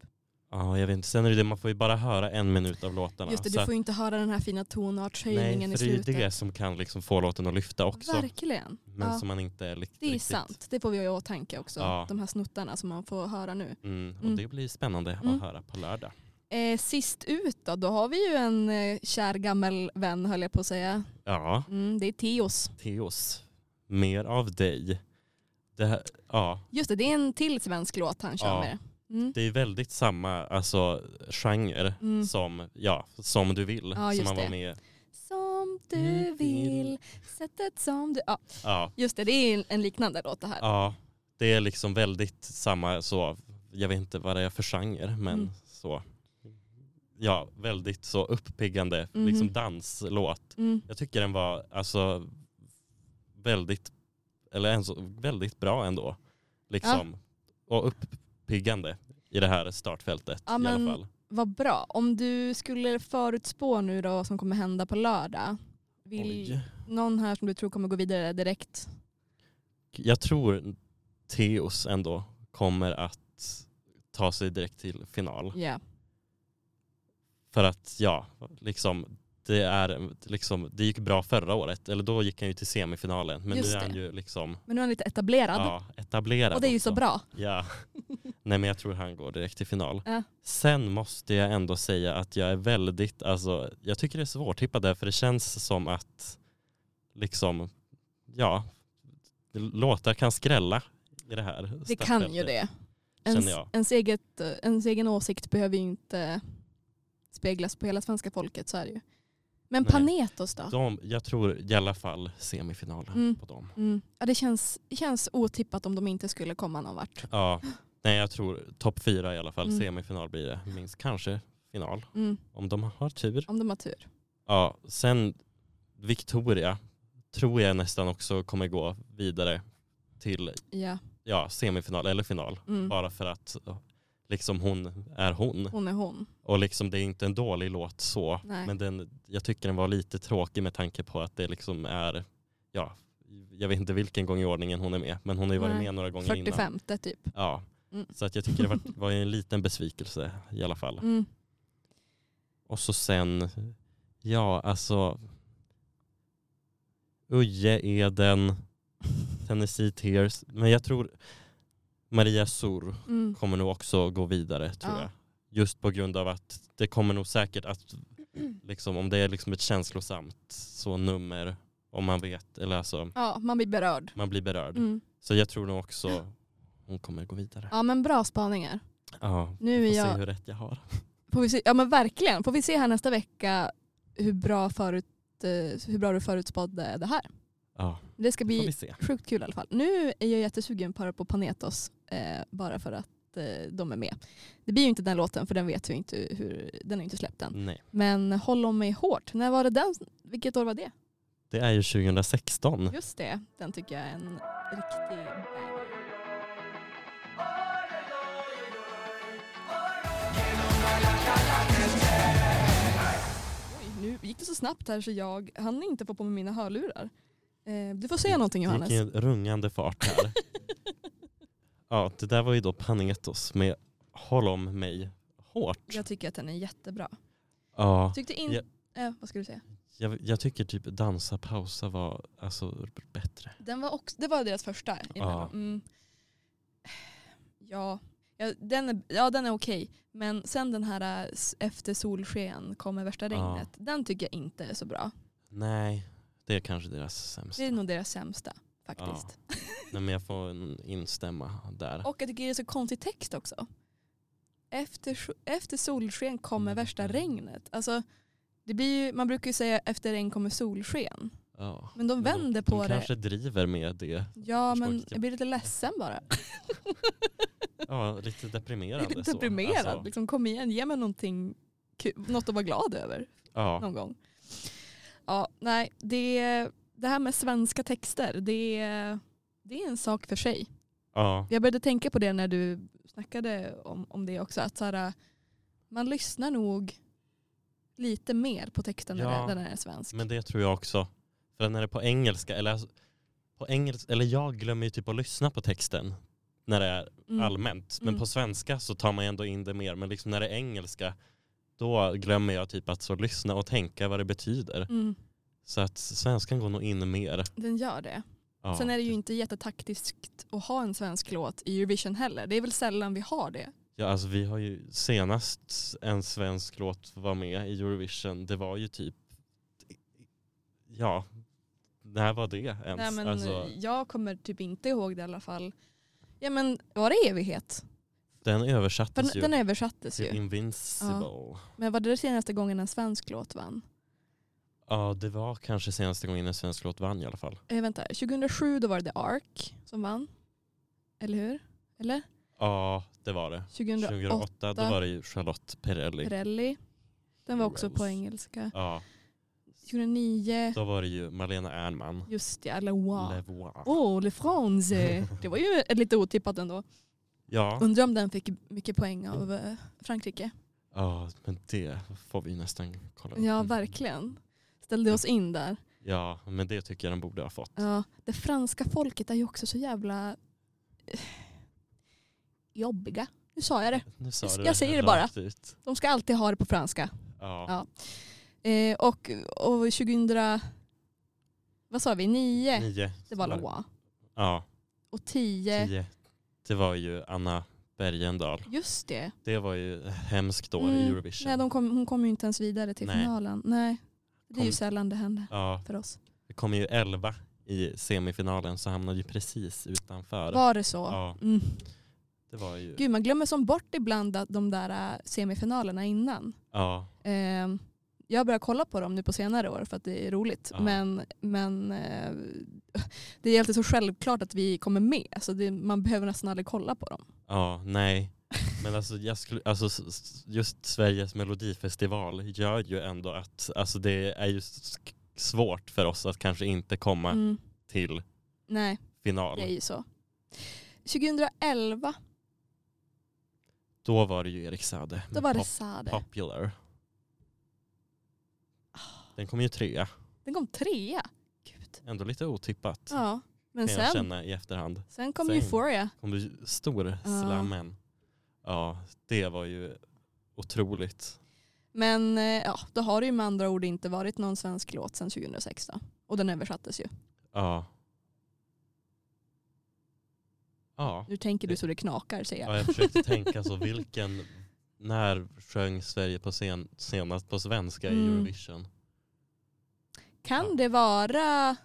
S2: Ja, jag vet inte. Sen är det det, man får ju bara höra en minut av låtarna.
S1: Just det,
S2: så
S1: du
S2: att-
S1: får ju inte höra den här fina tonartshöjningen
S2: nej,
S1: i
S2: för det är ju
S1: slutet.
S2: det som kan liksom få låten att lyfta också.
S1: Verkligen.
S2: Men
S1: ja,
S2: som man inte är likt- riktigt...
S1: det är sant, det får vi ha i åtanke också.
S2: Ja.
S1: De här snuttarna som man får höra nu.
S2: Mm, och
S1: Mm.
S2: det blir spännande
S1: Mm.
S2: att höra på lördag.
S1: Eh, sist ut då, då har vi ju en eh, kär gammal vän höll jag på att säga.
S2: Ja.
S1: Mm, det är Teos.
S2: Teos, mer av dig. Det, här, ja,
S1: Just det, det är en till svensk låt han kör
S2: Ja.
S1: med. Mm.
S2: det är väldigt samma alltså, genre
S1: Mm.
S2: som, ja, som du vill.
S1: Ja,
S2: som
S1: just
S2: man var
S1: det.
S2: med
S1: Som du
S2: Mm,
S1: vill,
S2: vill.
S1: sättet som du... Ja,
S2: ja,
S1: just det, det är en- en liknande låt det här.
S2: ja, Det är liksom väldigt samma, så, jag vet inte vad det är för genre, men
S1: Mm.
S2: så. Ja, väldigt så uppiggande
S1: Mhm.
S2: liksom danslåt.
S1: Mm.
S2: Jag tycker den var alltså väldigt, eller en så, väldigt bra ändå. Liksom. Och uppiggande i det här startfältet
S1: Ja,
S2: i
S1: men-
S2: alla fall.
S1: Vad bra. Om du skulle förutspå nu då vad som kommer hända på lördag. Vill
S2: Oj.
S1: någon här som du tror kommer gå vidare direkt?
S2: Jag tror Theos ändå kommer att ta sig direkt till final.
S1: Ja.
S2: För att ja, liksom det, är, liksom, det gick bra förra året, eller då gick han ju till semifinalen. Men
S1: Just
S2: nu är
S1: det.
S2: han ju liksom
S1: Men nu är han lite etablerad.
S2: ja, <laughs> etablerad.
S1: och det är ju så
S2: också.
S1: bra.
S2: Ja. Nej men jag tror han går direkt till final.
S1: Ja.
S2: Sen måste jag ändå säga att jag är väldigt, alltså jag tycker det är svårtippat där för det känns som att liksom, ja, låtar kan skrälla i det här.
S1: Det kan ju
S2: startfältet,
S1: det.
S2: typ. Känner
S1: Ens,
S2: jag.
S1: ens, eget, eh, ens egen åsikt behöver ju inte speglas på hela svenska folket, så är det ju. Men
S2: Nej.
S1: Panetos då?
S2: De, jag tror i alla fall semifinalen
S1: Mm.
S2: på dem.
S1: Mm. Ja, det känns, det känns otippat om de inte skulle komma någon vart.
S2: Ja, nej jag tror topp fyra i alla fall,
S1: Mm.
S2: semifinal blir det. Minst kanske final,
S1: Mm.
S2: om de har tur.
S1: Om de har tur.
S2: Ja, sen Victoria tror jag nästan också kommer gå vidare till
S1: Ja.
S2: ja, semifinal eller final.
S1: Mm.
S2: Bara för att liksom hon är hon.
S1: Hon är hon.
S2: Och liksom det är inte en dålig låt så.
S1: Nej.
S2: Men den, jag tycker den var lite tråkig med tanke på att det liksom är, ja, jag vet inte vilken gång i ordningen hon är med. Men hon har ju varit
S1: Nej.
S2: med några gånger innan.
S1: 45 typ.
S2: Ja.
S1: Mm.
S2: Så att jag tycker det var, var ju en liten besvikelse i alla fall.
S1: Mm.
S2: Och så sen, ja alltså Uje Eden, Tennessee Tears. Men jag tror Maria Sur
S1: Mm.
S2: kommer nog också gå vidare tror
S1: Ja.
S2: jag. Just på grund av att det kommer nog säkert att, liksom, om det är liksom ett känslosamt så nummer, om man vet, eller alltså
S1: Ja, man blir berörd.
S2: man blir berörd.
S1: Mm.
S2: Så jag tror nog också hon kommer gå vidare.
S1: Ja men bra spaningar.
S2: Ja,
S1: Nu
S2: får
S1: är
S2: se
S1: jag,
S2: hur rätt jag har.
S1: får vi se, ja men verkligen, får vi se här nästa vecka hur bra, förut, eh, hur bra du förutspådde det här.
S2: Ja,
S1: Det ska
S2: det får
S1: bli
S2: vi se.
S1: Sjukt kul i alla fall. Nu är jag jättesugen på att höra på Panetos eh, bara för att eh, de är med. Det blir ju inte den låten för den vet ju inte hur, den är ju inte släppt än.
S2: Nej.
S1: Men Håll om mig hårt, när var det den? Vilket år var det?
S2: Det är ju 2016.
S1: Just det, den tycker jag är en riktig banger. Oj, Nu gick det så snabbt här så jag hann inte få på mig mina hörlurar. Eh, Du får säga någonting
S2: Mm, Det
S1: Johannes.
S2: gick i en rungande fart
S1: <laughs>
S2: här. ja, det där var ju då Panetos med Håll om mig hårt.
S1: Jag tycker att den är jättebra.
S2: Ja,
S1: Tyckte in...
S2: Ja.
S1: Eh, vad ska du säga?
S2: jag, jag tycker typ Dansa pausa var alltså bättre.
S1: Den var också, det var deras första. i den här,
S2: Ja.
S1: va? Mm. Ja. Ja, den är, ja, den är okej. Men sen den här eh, s- Efter solsken kommer värsta
S2: Ja.
S1: regnet. Den tycker jag inte är så bra.
S2: Nej, det är kanske deras
S1: Det
S2: sämsta.
S1: är nog deras sämsta faktiskt.
S2: Nej, men jag får en- instämma där.
S1: Och jag tycker det är så konstig text också. Efter, so- efter solsken kommer
S2: Mm.
S1: värsta regnet. Alltså, det blir ju, man brukar ju säga efter regn kommer solsken.
S2: Ja.
S1: Men de vänder på
S2: Mm. de
S1: det.
S2: kanske driver med det.
S1: Ja
S2: Förstår
S1: men
S2: inte.
S1: jag blir lite ledsen bara.
S2: Ja, lite deprimerande.
S1: Jag är lite
S2: så.
S1: deprimerad.
S2: Alltså,
S1: Liksom, kom igen, ge mig någonting kul, något att vara glad över
S2: ja.
S1: någon gång. Ja, nej, det, det här med svenska texter, det, det är en sak för sig.
S2: Ja.
S1: Jag började tänka på det när du snackade om, om det också, att så här, man lyssnar nog lite mer på texten när,
S2: Ja,
S1: den- när den är svensk.
S2: Men det tror jag också. För när det är på engelska, eller, alltså, på engelska, eller jag glömmer ju typ att lyssna på texten när det är
S1: Mm.
S2: allmänt. Men
S1: Mm.
S2: på svenska så tar man ju ändå in det mer. Men liksom när det är engelska, då glömmer jag typ att så lyssna och tänka vad det betyder.
S1: Mm,
S2: Så att svenskan går nog in mer.
S1: den gör det.
S2: Ja,
S1: Sen är det ju inte jättetaktiskt att ha en svensk låt i Eurovision heller. Det är väl sällan vi har det.
S2: ja, alltså, vi har ju senast en svensk låt var med i Eurovision, det var ju typ, ja, när var det ens?
S1: Nej, men
S2: alltså,
S1: Jag kommer typ inte ihåg det i alla fall. Ja men var det evighet?
S2: den
S1: För
S2: översattes
S1: den, den
S2: ju
S1: översattes
S2: till
S1: ju.
S2: Invincible.
S1: Men var det senaste gången en svensk låt vann?
S2: Ja, det var kanske senaste gången en svensk låt vann i alla fall.
S1: Eh, vänta, 2007 då var det The Ark som vann. Eller hur? Eller?
S2: Ja, det var det.
S1: 2008,
S2: 2008, då var det ju Charlotte Perrelli.
S1: Pirelli. Den var också på
S2: Heroes.
S1: engelska.
S2: Ja,
S1: 2009,
S2: då var det ju Malena Ernman.
S1: just det, Le Wow.
S2: Le Voir.
S1: Oh, Le
S2: <laughs>
S1: France. Det var ju ett lite otippat ändå.
S2: Ja.
S1: Undrar om den fick mycket poäng av eh, Frankrike.
S2: ja, men det får vi nästan kolla upp.
S1: Ja, verkligen. Ställde oss in där.
S2: Ja, men det tycker jag den borde ha fått.
S1: Ja, det franska folket är ju också så jävla eh, jobbiga. Nu sa jag det.
S2: Nu sa
S1: Jag
S2: du
S1: säger det
S2: rakt Ut.
S1: De ska alltid ha det på franska.
S2: Ja.
S1: Ja. Eh, och, och 2000... Vad sa vi? Nio?
S2: Nio.
S1: Det var Loa.
S2: Ja,
S1: Och tio,
S2: tio. Det var ju Anna Bergendal.
S1: Just det.
S2: Det var ju hemskt år i
S1: Mm.
S2: Eurovision.
S1: Nej, de kom, hon kom ju inte ens vidare till
S2: Nej.
S1: finalen. Nej, det är ju
S2: Kom-
S1: sällan det händer
S2: Ja,
S1: för oss.
S2: det kom ju 11 i semifinalen så hamnade ju precis utanför.
S1: Var det så?
S2: Ja,
S1: Mm.
S2: det var ju...
S1: Gud, man glömmer som bort ibland att de där äh, semifinalerna innan.
S2: Ja,
S1: Eh, jag börjar kolla på dem nu på senare år för att det är roligt.
S2: Ja.
S1: Men, men eh, det är alltid så självklart att vi kommer med. Så det, man behöver nästan aldrig kolla på dem.
S2: ja, nej. Men alltså, jag skulle, alltså s- s- just Sveriges melodifestival gör ju ändå att alltså det är ju s- svårt för oss att kanske inte komma
S1: Mm.
S2: till
S1: Nej,
S2: final.
S1: det är ju så. 2011,
S2: Då var det ju Erik Saade.
S1: då
S2: med
S1: var det
S2: Pop-
S1: Sade.
S2: Popular.
S1: Ah.
S2: Den kom ju trea.
S1: Den kom trea. Gud.
S2: Ändå lite otippat
S1: Ja, men
S2: kan jag
S1: sen,
S2: känna i efterhand.
S1: sen kom
S2: sen-
S1: Euphoria.
S2: Kom du stor slammen. Ja, det var ju otroligt.
S1: Men eh, ja, då har det ju med andra ord inte varit någon svensk låt sedan 2006 då. Och den översattes ju.
S2: Ja. Ja,
S1: Nu tänker du så det knakar säger jag.
S2: ja jag försökte
S1: <laughs>
S2: tänka så vilken, när sjöng Sverige på scen, senast på svenska i
S1: Mm.
S2: Eurovision?
S1: Kan
S2: Ja.
S1: det vara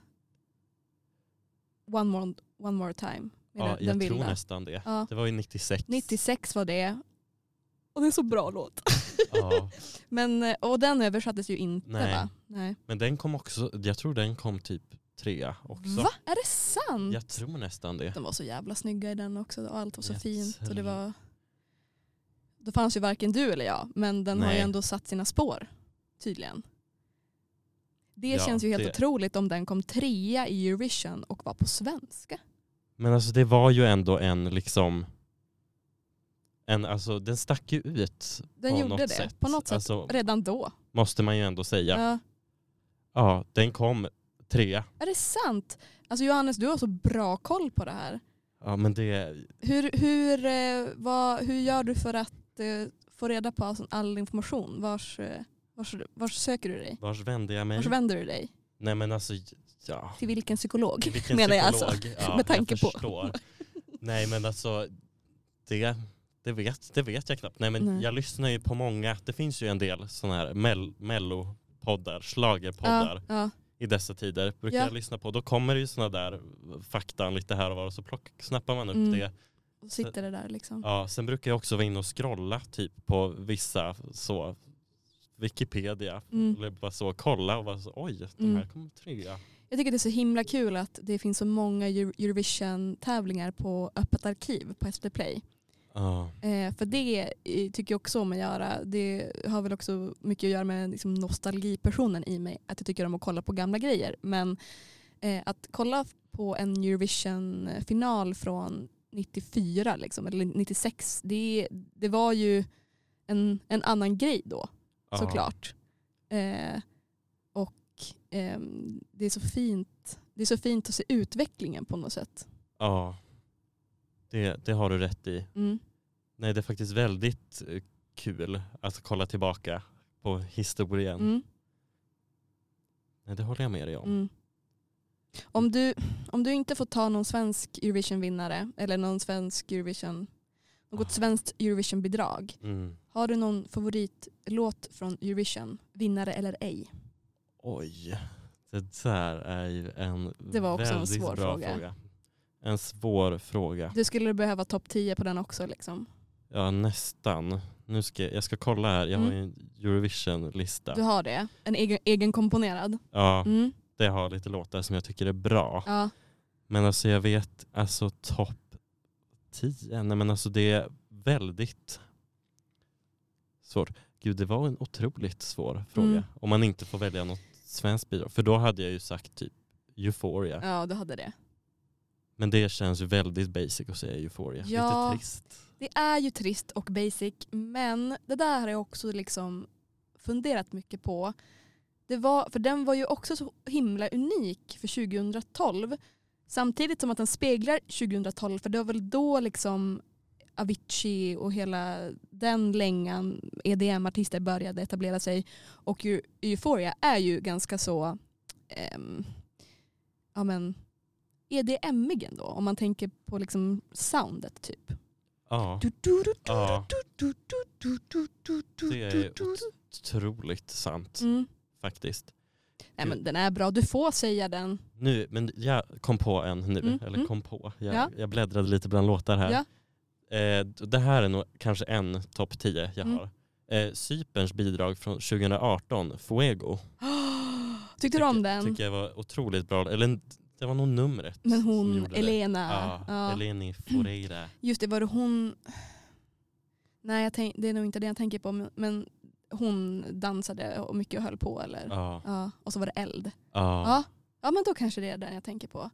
S1: One More, one more Time? med
S2: Ja,
S1: den- den
S2: jag tror
S1: vilda?
S2: nästan det.
S1: Ja.
S2: Det var ju 96.
S1: 96 var det. Och det är en så bra låt.
S2: Ja.
S1: <laughs> Men, eh, och den översattes ju inte
S2: Nej.
S1: va? Nej.
S2: Men den kom också, jag tror den kom typ trea också.
S1: Va? Är det sant?
S2: Jag tror nästan det.
S1: De var så jävla snygga i den också och allt var så
S2: Jag
S1: fint. Och det
S2: tror-
S1: var... Då fanns ju varken du eller jag men den har ju
S2: Nej.
S1: ändå satt sina spår tydligen. Det
S2: Ja,
S1: känns ju helt
S2: det-
S1: otroligt om den kom trea i Eurovision och var på svenska.
S2: Men alltså det var ju ändå en liksom, en, alltså den stack ju ut
S1: Den
S2: på
S1: gjorde
S2: något
S1: det
S2: sätt.
S1: på något sätt
S2: Alltså,
S1: redan då.
S2: måste man ju ändå säga. Ja,
S1: Ja.
S2: den kom trea.
S1: Är det sant? Alltså Johannes, du har så bra koll på det här.
S2: Ja men det,
S1: Hur, hur, eh, vad, hur gör du för att eh, få reda på all- all information? Vars, eh, vars, vars söker du dig?
S2: vars vände jag mig?
S1: Vars vänder du dig?
S2: Nej men alltså, ja.
S1: Till vilken psykolog?
S2: Vilken
S1: menar jag alltså. <laughs>
S2: psykolog. Ja,
S1: med tanke
S2: jag
S1: på.
S2: förstår. Nej men alltså, det, det, vet, det vet jag knappt. Nej men
S1: Nej.
S2: jag lyssnar ju på många, det finns ju en del sådana här mell- mellopoddar, schlagerpoddar.
S1: Ja, ja.
S2: i dessa tider brukar
S1: Ja.
S2: jag lyssna på. Då kommer det ju sådana där faktan lite här och var och så plock, snappar man upp
S1: Mm.
S2: det.
S1: Och sitter det där liksom.
S2: Ja, sen brukar jag också vara inne och scrolla typ på vissa så Wikipedia
S1: Mm.
S2: eller bara så kolla och bara så oj, de
S1: Mm.
S2: här kom trea.
S1: Jag tycker det är så himla kul att det finns så många Euro- Eurovision-tävlingar på öppet arkiv på SVT Play.
S2: Ja,
S1: Eh, för det eh, tycker jag också om att göra. Det har väl också mycket att göra med liksom, nostalgipersonen i mig. Att jag tycker om att kolla på gamla grejer. Men eh, att kolla på en Eurovision-final från 94 liksom, eller 96. Det, det var ju en, en annan grej då
S2: ja.
S1: såklart. Eh, och ehm, det, är så fint, det är så fint att se utvecklingen på något sätt.
S2: Ja, det, det har du rätt i.
S1: Mm.
S2: Nej, det är faktiskt väldigt eh, kul att kolla tillbaka på historien.
S1: Mm.
S2: Nej, det håller jag med dig om.
S1: Mm. Om, du, om du inte får ta någon svensk Eurovision-vinnare eller någon svensk Eurovision, något
S2: Ah.
S1: svenskt Eurovision-bidrag.
S2: Mm.
S1: Har du någon favoritlåt från Eurovision, vinnare eller ej?
S2: Oj, det där är ju en
S1: Det var också en
S2: väldigt
S1: svår
S2: bra
S1: fråga.
S2: fråga. En svår fråga.
S1: Du skulle behöva topp 10 på den också. Liksom.
S2: Ja nästan. Nu ska, jag ska kolla här, jag har ju en Eurovision-lista.
S1: Mm. Du har det, en egen, egen komponerad.
S2: Ja,
S1: Mm.
S2: det har lite låtar som jag tycker är bra.
S1: Ja.
S2: Men alltså jag vet, alltså topp 10, nej men alltså det är väldigt svårt. Gud det var en otroligt svår fråga.
S1: Mm.
S2: Om man inte får välja något svenskt bidrag. För då hade jag ju sagt typ Euphoria.
S1: ja, du hade det.
S2: Men det känns ju väldigt basic att säga euphoria.
S1: Ja.
S2: Lite trist.
S1: Det är ju trist och basic men det där har jag också liksom funderat mycket på. Det var, för den var ju också så himla unik för 2012. Samtidigt som att den speglar 2012 för det var väl då liksom Avicii och hela den längan EDM-artister började etablera sig. Och Eu- Euphoria är ju ganska så ehm, E ja men, EDM-ig ändå om man tänker på liksom soundet typ.
S2: Ja,
S1: Du, du, du, du,
S2: Ja.
S1: du, du, du, du, du, du, du,
S2: Det är
S1: du, du.
S2: otroligt sant
S1: Mm.
S2: faktiskt.
S1: Nej, men den är bra, du får säga den.
S2: Nu, men jag kom på en nu,
S1: Mm,
S2: eller
S1: mm.
S2: kom på. Jag,
S1: Ja.
S2: jag bläddrade lite bland låtar här.
S1: Ja.
S2: Eh, d- det här är nog kanske en topp 10 jag
S1: Mm.
S2: har. Eh, Cyperns bidrag från 2018, Fuego.
S1: Tyckte du om den?
S2: Tycker jag var otroligt bra. Eller en- det var nog numret
S1: Men
S2: som
S1: hon,
S2: gjorde det.
S1: Elena.
S2: Ja,
S1: Ja. Mm.
S2: Eleni Foreira.
S1: Just det, var det hon... Nej, jag tänk... det är nog inte det jag tänker på. men- Men hon dansade och mycket och höll på. Eller? Ja.
S2: Ja,
S1: Och så var det eld.
S2: ja,
S1: Ja. ja, men då kanske det är den jag tänker på.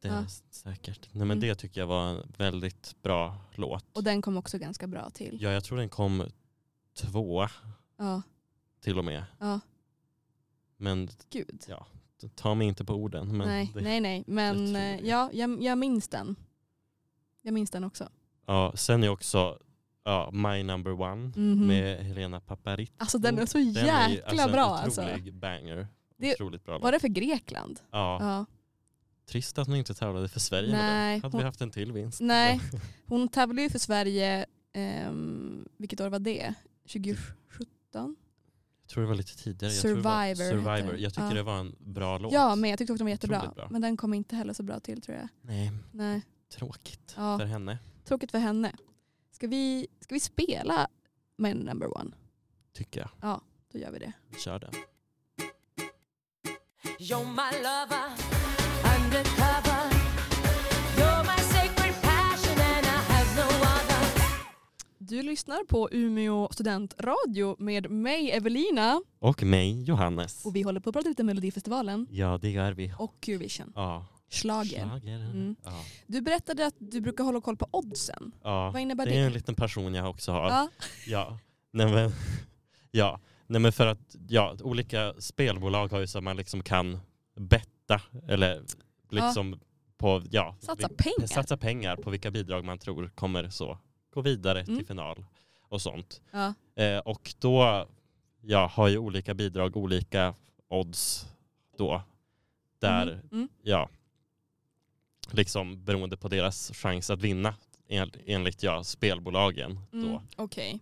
S2: det är
S1: ja.
S2: s- säkert. Nej, men
S1: Mm.
S2: Det tycker jag var en väldigt bra låt.
S1: Och den kom också ganska bra till.
S2: Ja, jag tror den kom tvåa
S1: Ja,
S2: till och med.
S1: ja.
S2: Men
S1: gud.
S2: Ja, t- ta mig inte på orden. Men
S1: nej,
S2: det,
S1: nej, nej.
S2: det
S1: Men
S2: tror
S1: eh,
S2: jag.
S1: ja, jag, jag minns den. Jag minns den också.
S2: Ja, sen är också ja, My Number One
S1: Mhm.
S2: med Helena Paparit.
S1: Alltså den är så
S2: Den
S1: jäkla
S2: är ju, alltså, en
S1: bra.
S2: Otrolig
S1: Alltså.
S2: banger.
S1: Det-
S2: Otroligt bra.
S1: Var
S2: låt.
S1: det för Grekland?
S2: Ja,
S1: Ja.
S2: Trist att hon inte tävlade för Sverige. Nej,
S1: Nej,
S2: hade vi
S1: hon-
S2: haft en till vinst.
S1: Nej, hon tävlade ju för Sverige, ehm, vilket år var det? 2017?
S2: <laughs> Jag tror det var lite tidigare. jag tror
S1: Survivor heter
S2: det var Survivor.
S1: den.
S2: Jag tycker
S1: Ja.
S2: det var en bra låt.
S1: Ja, men jag tyckte också den var jättebra.
S2: Otroligt bra.
S1: Men den kom inte heller så bra till tror jag.
S2: Nej,
S1: Nej,
S2: tråkigt
S1: Ja.
S2: för henne.
S1: tråkigt för henne. Ska vi, ska vi spela My number one?
S2: Tycker jag.
S1: Då gör vi det.
S2: Vi kör den.
S4: You're my lover, undercover. You're my sacred passion, and I have no other.
S1: Du lyssnar på Umeå studentradio med mig Evelina
S2: Och mig, Johannes.
S1: och vi håller på att prata lite Melodifestivalen
S2: Ja, det gör vi.
S1: och Eurovision.
S2: Ja,
S1: Schlager.
S2: schlager.
S1: Mm.
S2: Ja.
S1: Du berättade att du brukar hålla koll på oddsen.
S2: Ja.
S1: Vad innebär
S2: Det är en
S1: det?
S2: liten person jag också har.
S1: Ja.
S2: Ja, nej men, <laughs> ja. Nej men för att ja, olika spelbolag har ju så att man liksom kan betta eller liksom på, ja,
S1: Satsa
S2: vi-
S1: pengar.
S2: satsa pengar på vilka bidrag man tror kommer så gå vidare
S1: Mm.
S2: till final och sånt.
S1: Ja.
S2: Eh, och då ja, har ju olika bidrag olika odds då. Där,
S1: Mhm. Mm.
S2: ja, liksom beroende på deras chans att vinna en- enligt ja, spelbolagen då.
S1: Mm. Okej.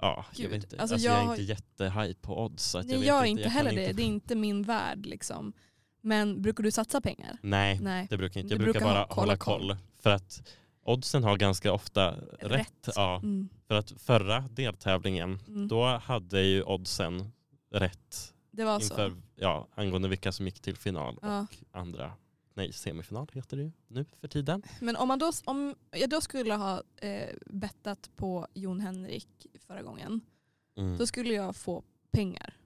S2: Ja, jag
S1: Gud,
S2: vet inte. Alltså,
S1: alltså
S2: jag,
S1: jag
S2: är
S1: har-
S2: inte jättehaj på odds. Så att
S1: Nej,
S2: jag,
S1: jag,
S2: vet
S1: är
S2: inte,
S1: inte
S2: jag kan
S1: heller det. Det är inte min värld. Liksom. Men brukar du satsa pengar?
S2: Nej,
S1: Nej.
S2: det brukar jag inte.
S1: Du
S2: Jag brukar
S1: brukar
S2: bara
S1: ha- kolla
S2: hålla koll.
S1: koll.
S2: För att oddsen har ganska ofta rätt. Ja,
S1: Mm.
S2: för att förra deltävlingen,
S1: Mm.
S2: då hade ju oddsen rätt
S1: Det var så.
S2: inför, ja, angående vilka som gick till final
S1: Ja.
S2: och andra. Nej, semifinal heter det ju nu för tiden.
S1: Men om, man då, om jag då skulle ha eh, bettat på Jon Henrik förra gången,
S2: Mm.
S1: då skulle jag få pengar.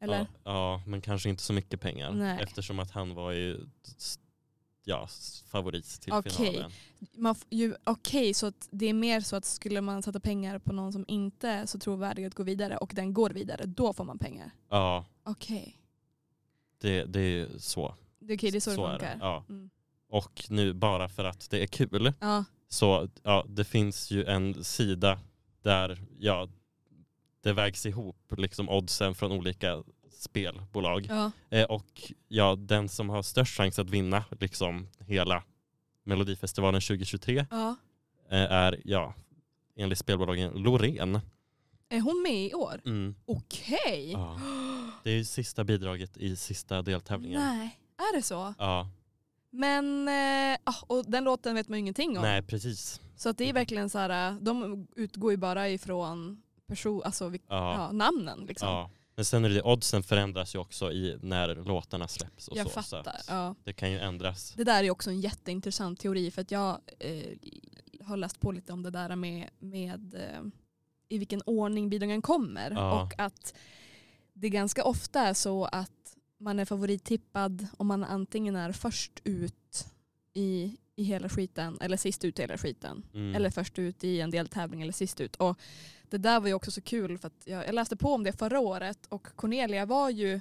S1: Eller?
S2: Ja, ja, men kanske inte så mycket pengar
S1: Nej.
S2: eftersom att han var ju s- ja, s- favorit till
S1: Okej.
S2: finalen.
S1: Man f- ju- Okej, så att det är mer så att skulle man sätta pengar på någon som inte är så trovärdig att gå vidare och den går vidare, då får man pengar.
S2: Ja,
S1: Okej,
S2: det, det är ju så.
S1: det, okej, det är så, det
S2: är
S1: funkar.
S2: Ja.
S1: Mm.
S2: Och nu bara för att det är kul
S1: Ja.
S2: så ja, det finns ju en sida där ja, det vägs ihop liksom oddsen från olika spelbolag.
S1: Ja.
S2: Eh, och ja, den som har störst chans att vinna liksom hela Melodifestivalen 2023
S1: Ja.
S2: eh, är ja, enligt spelbolagen Loreen.
S1: Är hon med i år?
S2: Mm.
S1: Okej!
S2: Ja. Det är ju sista bidraget i sista
S1: <gasps>
S2: deltävlingen.
S1: Nej, är det så?
S2: Ja,
S1: Men eh, ah, och den låten vet man ju ingenting om.
S2: nej precis.
S1: Så att det är verkligen så här, eh, de utgår ju bara ifrån person, alltså, vilk- ja.
S2: Ja.
S1: namnen. Liksom.
S2: Ja. Men sen är det oddsen förändras ju också i när låtarna släpps och
S1: jag
S2: så. Så
S1: fattar.
S2: att
S1: Ja.
S2: Det kan ju ändras.
S1: Det där är också en jätteintressant teori för att jag eh, har läst på lite om det där med, med eh, i vilken ordning bidragen kommer
S2: Ja.
S1: och att det ganska ofta är så att man är favorittippad om man antingen är först ut i, i hela skiten eller sist ut i hela skiten.
S2: Mm.
S1: Eller först ut i en deltävling eller sist ut. Och det där var ju också så kul för att jag, jag läste på om det förra året och Cornelia var ju,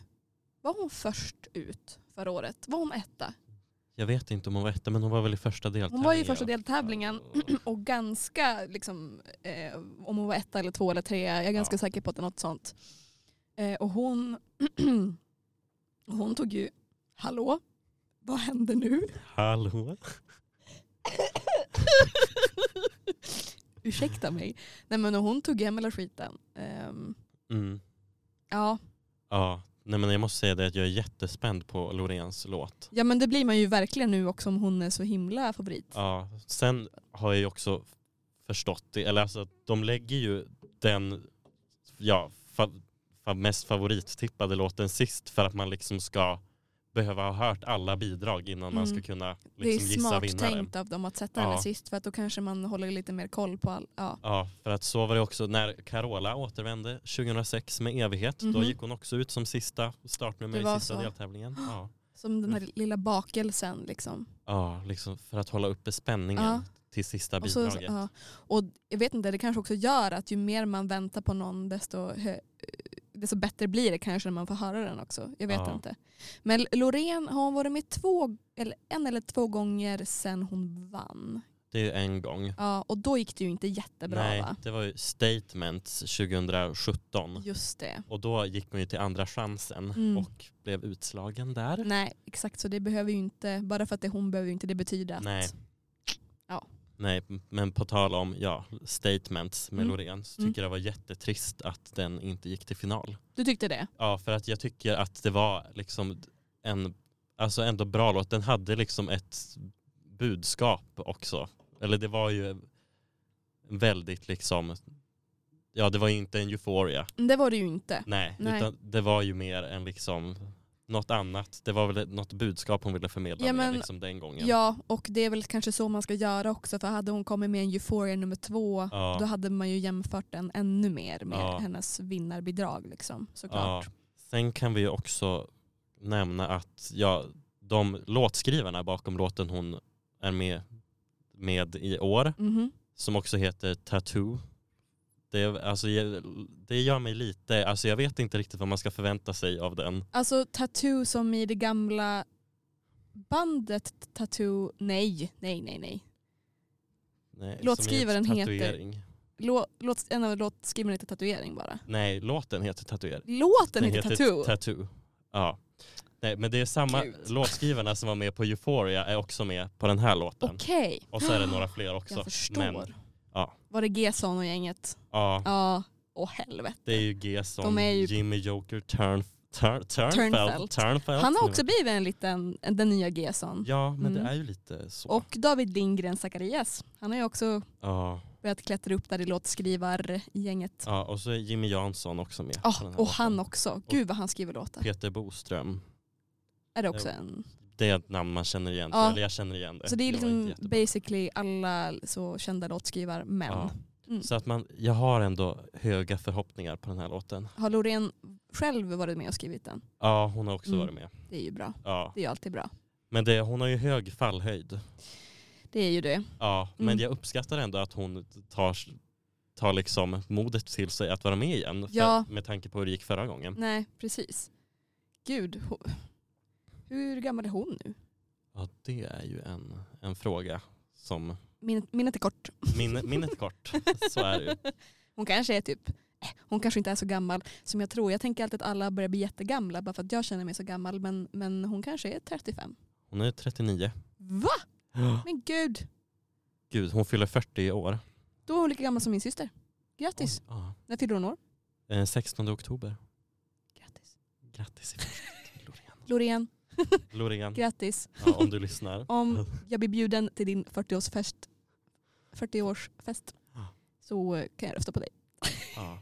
S1: var hon först ut förra året? Var hon etta?
S2: Jag vet inte om hon var etta men hon var väl i första deltävlingen.
S1: Hon var ju i första
S2: va? <clears throat>
S1: deltävlingen <clears throat> och ganska, liksom, eh, om hon var etta eller två eller tre, jag är ganska
S2: Ja.
S1: säker på att det är något sånt. Eh, och hon, <clears throat> hon tog ju, hallå, vad händer nu?
S2: Hallå?
S1: <laughs> Ursäkta mig. Nej men och hon tog hem hela skiten. Ehm,
S2: Mm.
S1: ja.
S2: Ja. Nej, men jag måste säga det att jag är jättespänd på Loreens låt.
S1: ja men det blir man ju verkligen nu också om hon är så himla favorit.
S2: Ja. Sen har jag ju också förstått det, eller alltså att de lägger ju den ja, fa, fa, mest favorittippade låten sist för att man liksom ska behöva ha hört alla bidrag innan man
S1: Mm.
S2: ska kunna
S1: det är
S2: liksom gissa
S1: smart
S2: vinnaren.
S1: tänkt av dem att sätta
S2: Ja.
S1: henne sist för att då kanske man håller lite mer koll på all... Ja.
S2: Ja, för att så var det också när Carola återvände 2006 med Evighet. Då
S1: Mhm.
S2: gick hon också ut som sista startnummer
S1: Det
S2: i
S1: var
S2: sista
S1: så.
S2: deltävlingen. Ja.
S1: Som den här lilla bakelsen liksom.
S2: ja, liksom för att hålla uppe spänningen
S1: Ja.
S2: till sista
S1: Och, så,
S2: bidraget.
S1: ja. och jag vet inte, det kanske också gör att ju mer man väntar på någon desto, hö- desto bättre blir det kanske när man får höra den också. Jag vet
S2: Ja.
S1: inte. Men Loreen har hon varit med två, eller en eller två gånger sen hon vann.
S2: Det är ju en gång.
S1: Ja, och då gick det ju inte jättebra
S2: Nej,
S1: va?
S2: det var ju Statements 2017.
S1: Just det.
S2: Och då gick hon ju till andra chansen
S1: Mm.
S2: och blev utslagen där.
S1: Nej, exakt så det behöver ju inte, bara för att det är hon behöver ju inte det betyda att
S2: Nej.
S1: Ja.
S2: Nej, men på tal om ja, Statements med
S1: Mm.
S2: Loreen så tycker
S1: Mm.
S2: jag det var jättetrist att den inte gick till final.
S1: Du tyckte det?
S2: Ja, för att jag tycker att det var liksom en alltså ändå bra låt. Den hade liksom ett budskap också. Eller det var ju väldigt liksom, ja det var ju inte en euphoria.
S1: Det var det ju inte.
S2: Nej,
S1: Nej.
S2: utan det var ju mer en liksom något annat. Det var väl ett- något budskap hon ville förmedla
S1: Ja,
S2: med,
S1: men-
S2: liksom den gången.
S1: Ja, och det är väl kanske så man ska göra också för hade hon kommit med en Euphoria nummer två
S2: Ja.
S1: Då hade man ju jämfört den ännu mer med
S2: Ja.
S1: hennes vinnarbidrag liksom,
S2: Ja.
S1: såklart.
S2: Sen kan vi ju också nämna att ja, de låtskrivarna bakom låten hon är med, med i år
S1: Mhm.
S2: som också heter Tattoo. Det, alltså, det gör mig lite, alltså jag vet inte riktigt vad man ska förvänta sig av den.
S1: Alltså Tattoo som i det gamla bandet Tattoo, nej, nej, nej, nej.
S2: Nej, som är
S1: Låtskrivaren heter-
S2: tatuering.
S1: Lå, låt, en av låtskrivarna heter Tatuering bara.
S2: Nej, låten heter Tatuering.
S1: Låten heter Tattoo.
S2: Tattoo. Ja. Nej, men det är samma
S1: Gud.
S2: låtskrivarna som var med på Euphoria är också med på den här låten.
S1: Okej,
S2: Och så är det
S1: <gasps>
S2: några fler också.
S1: jag förstår.
S2: Men ja.
S1: Var det G-son och gänget?
S2: ja,
S1: Ja, åh helvete.
S2: det är ju G-son,
S1: De är ju-
S2: Jimmy Joker, Turn, turn, Turnfeld.
S1: Turnfeld.
S2: Turnfeld.
S1: Han har också blivit en liten, en- den nya G-son.
S2: Ja, men
S1: Mm.
S2: det är ju lite så.
S1: Och David Lindgren Zacharias. Han har ju också
S2: ja.
S1: börjat klättra upp där i låtskrivargänget.
S2: Ja, och så är Jimmy Jansson också med.
S1: Ja,
S2: på den här
S1: och han
S2: låten.
S1: också. Gud vad han skriver låtar.
S2: Peter Boström.
S1: Är det också en?
S2: Det är ett namn man känner igen.
S1: Ja.
S2: Eller jag känner igen det.
S1: Så det är
S2: var inte
S1: liksom
S2: jättebra.
S1: basically alla så kända låtskrivare-män.
S2: Ja.
S1: Mm.
S2: Så att man, jag har ändå höga förhoppningar på den här låten.
S1: Har Loreen själv varit med och skrivit den?
S2: Ja, hon har också
S1: Mm.
S2: varit med.
S1: Det är ju bra.
S2: Ja.
S1: Det är ju alltid bra.
S2: Men det, hon har ju hög fallhöjd.
S1: Det är ju det.
S2: Ja, men
S1: Mm.
S2: jag uppskattar ändå att hon tar, tar liksom modet till sig att vara med igen.
S1: Ja. Mm.
S2: För, med tanke på hur det gick förra gången.
S1: Nej, precis. Gud, ho- hur gammal är hon nu?
S2: Ja, det är ju en, en fråga som...
S1: Minnet, minnet är kort.
S2: Minnet, <laughs> minnet kort, <laughs> så är det ju.
S1: Hon kanske är typ, eh, hon kanske inte är så gammal som jag tror. Jag tänker alltid att alla börjar bli jättegamla bara för att jag känner mig så gammal. Men, men hon kanske är 35.
S2: Hon är 39.
S1: Va? Men gud,
S2: Gud, hon fyller 40 i år.
S1: då är hon lika gammal som min syster. Grattis.
S2: Oj, ja.
S1: När fyller hon år?
S2: Eh, 16 oktober.
S1: Grattis.
S2: Grattis i förskott, Loreen.
S1: <laughs> Loreen,
S2: Loreen,
S1: grattis.
S2: ja, om du lyssnar.
S1: Om jag blir bjuden till din 40-årsfest 40-årsfest
S2: Ja.
S1: så eh, kan jag rösta på dig.
S2: Ja.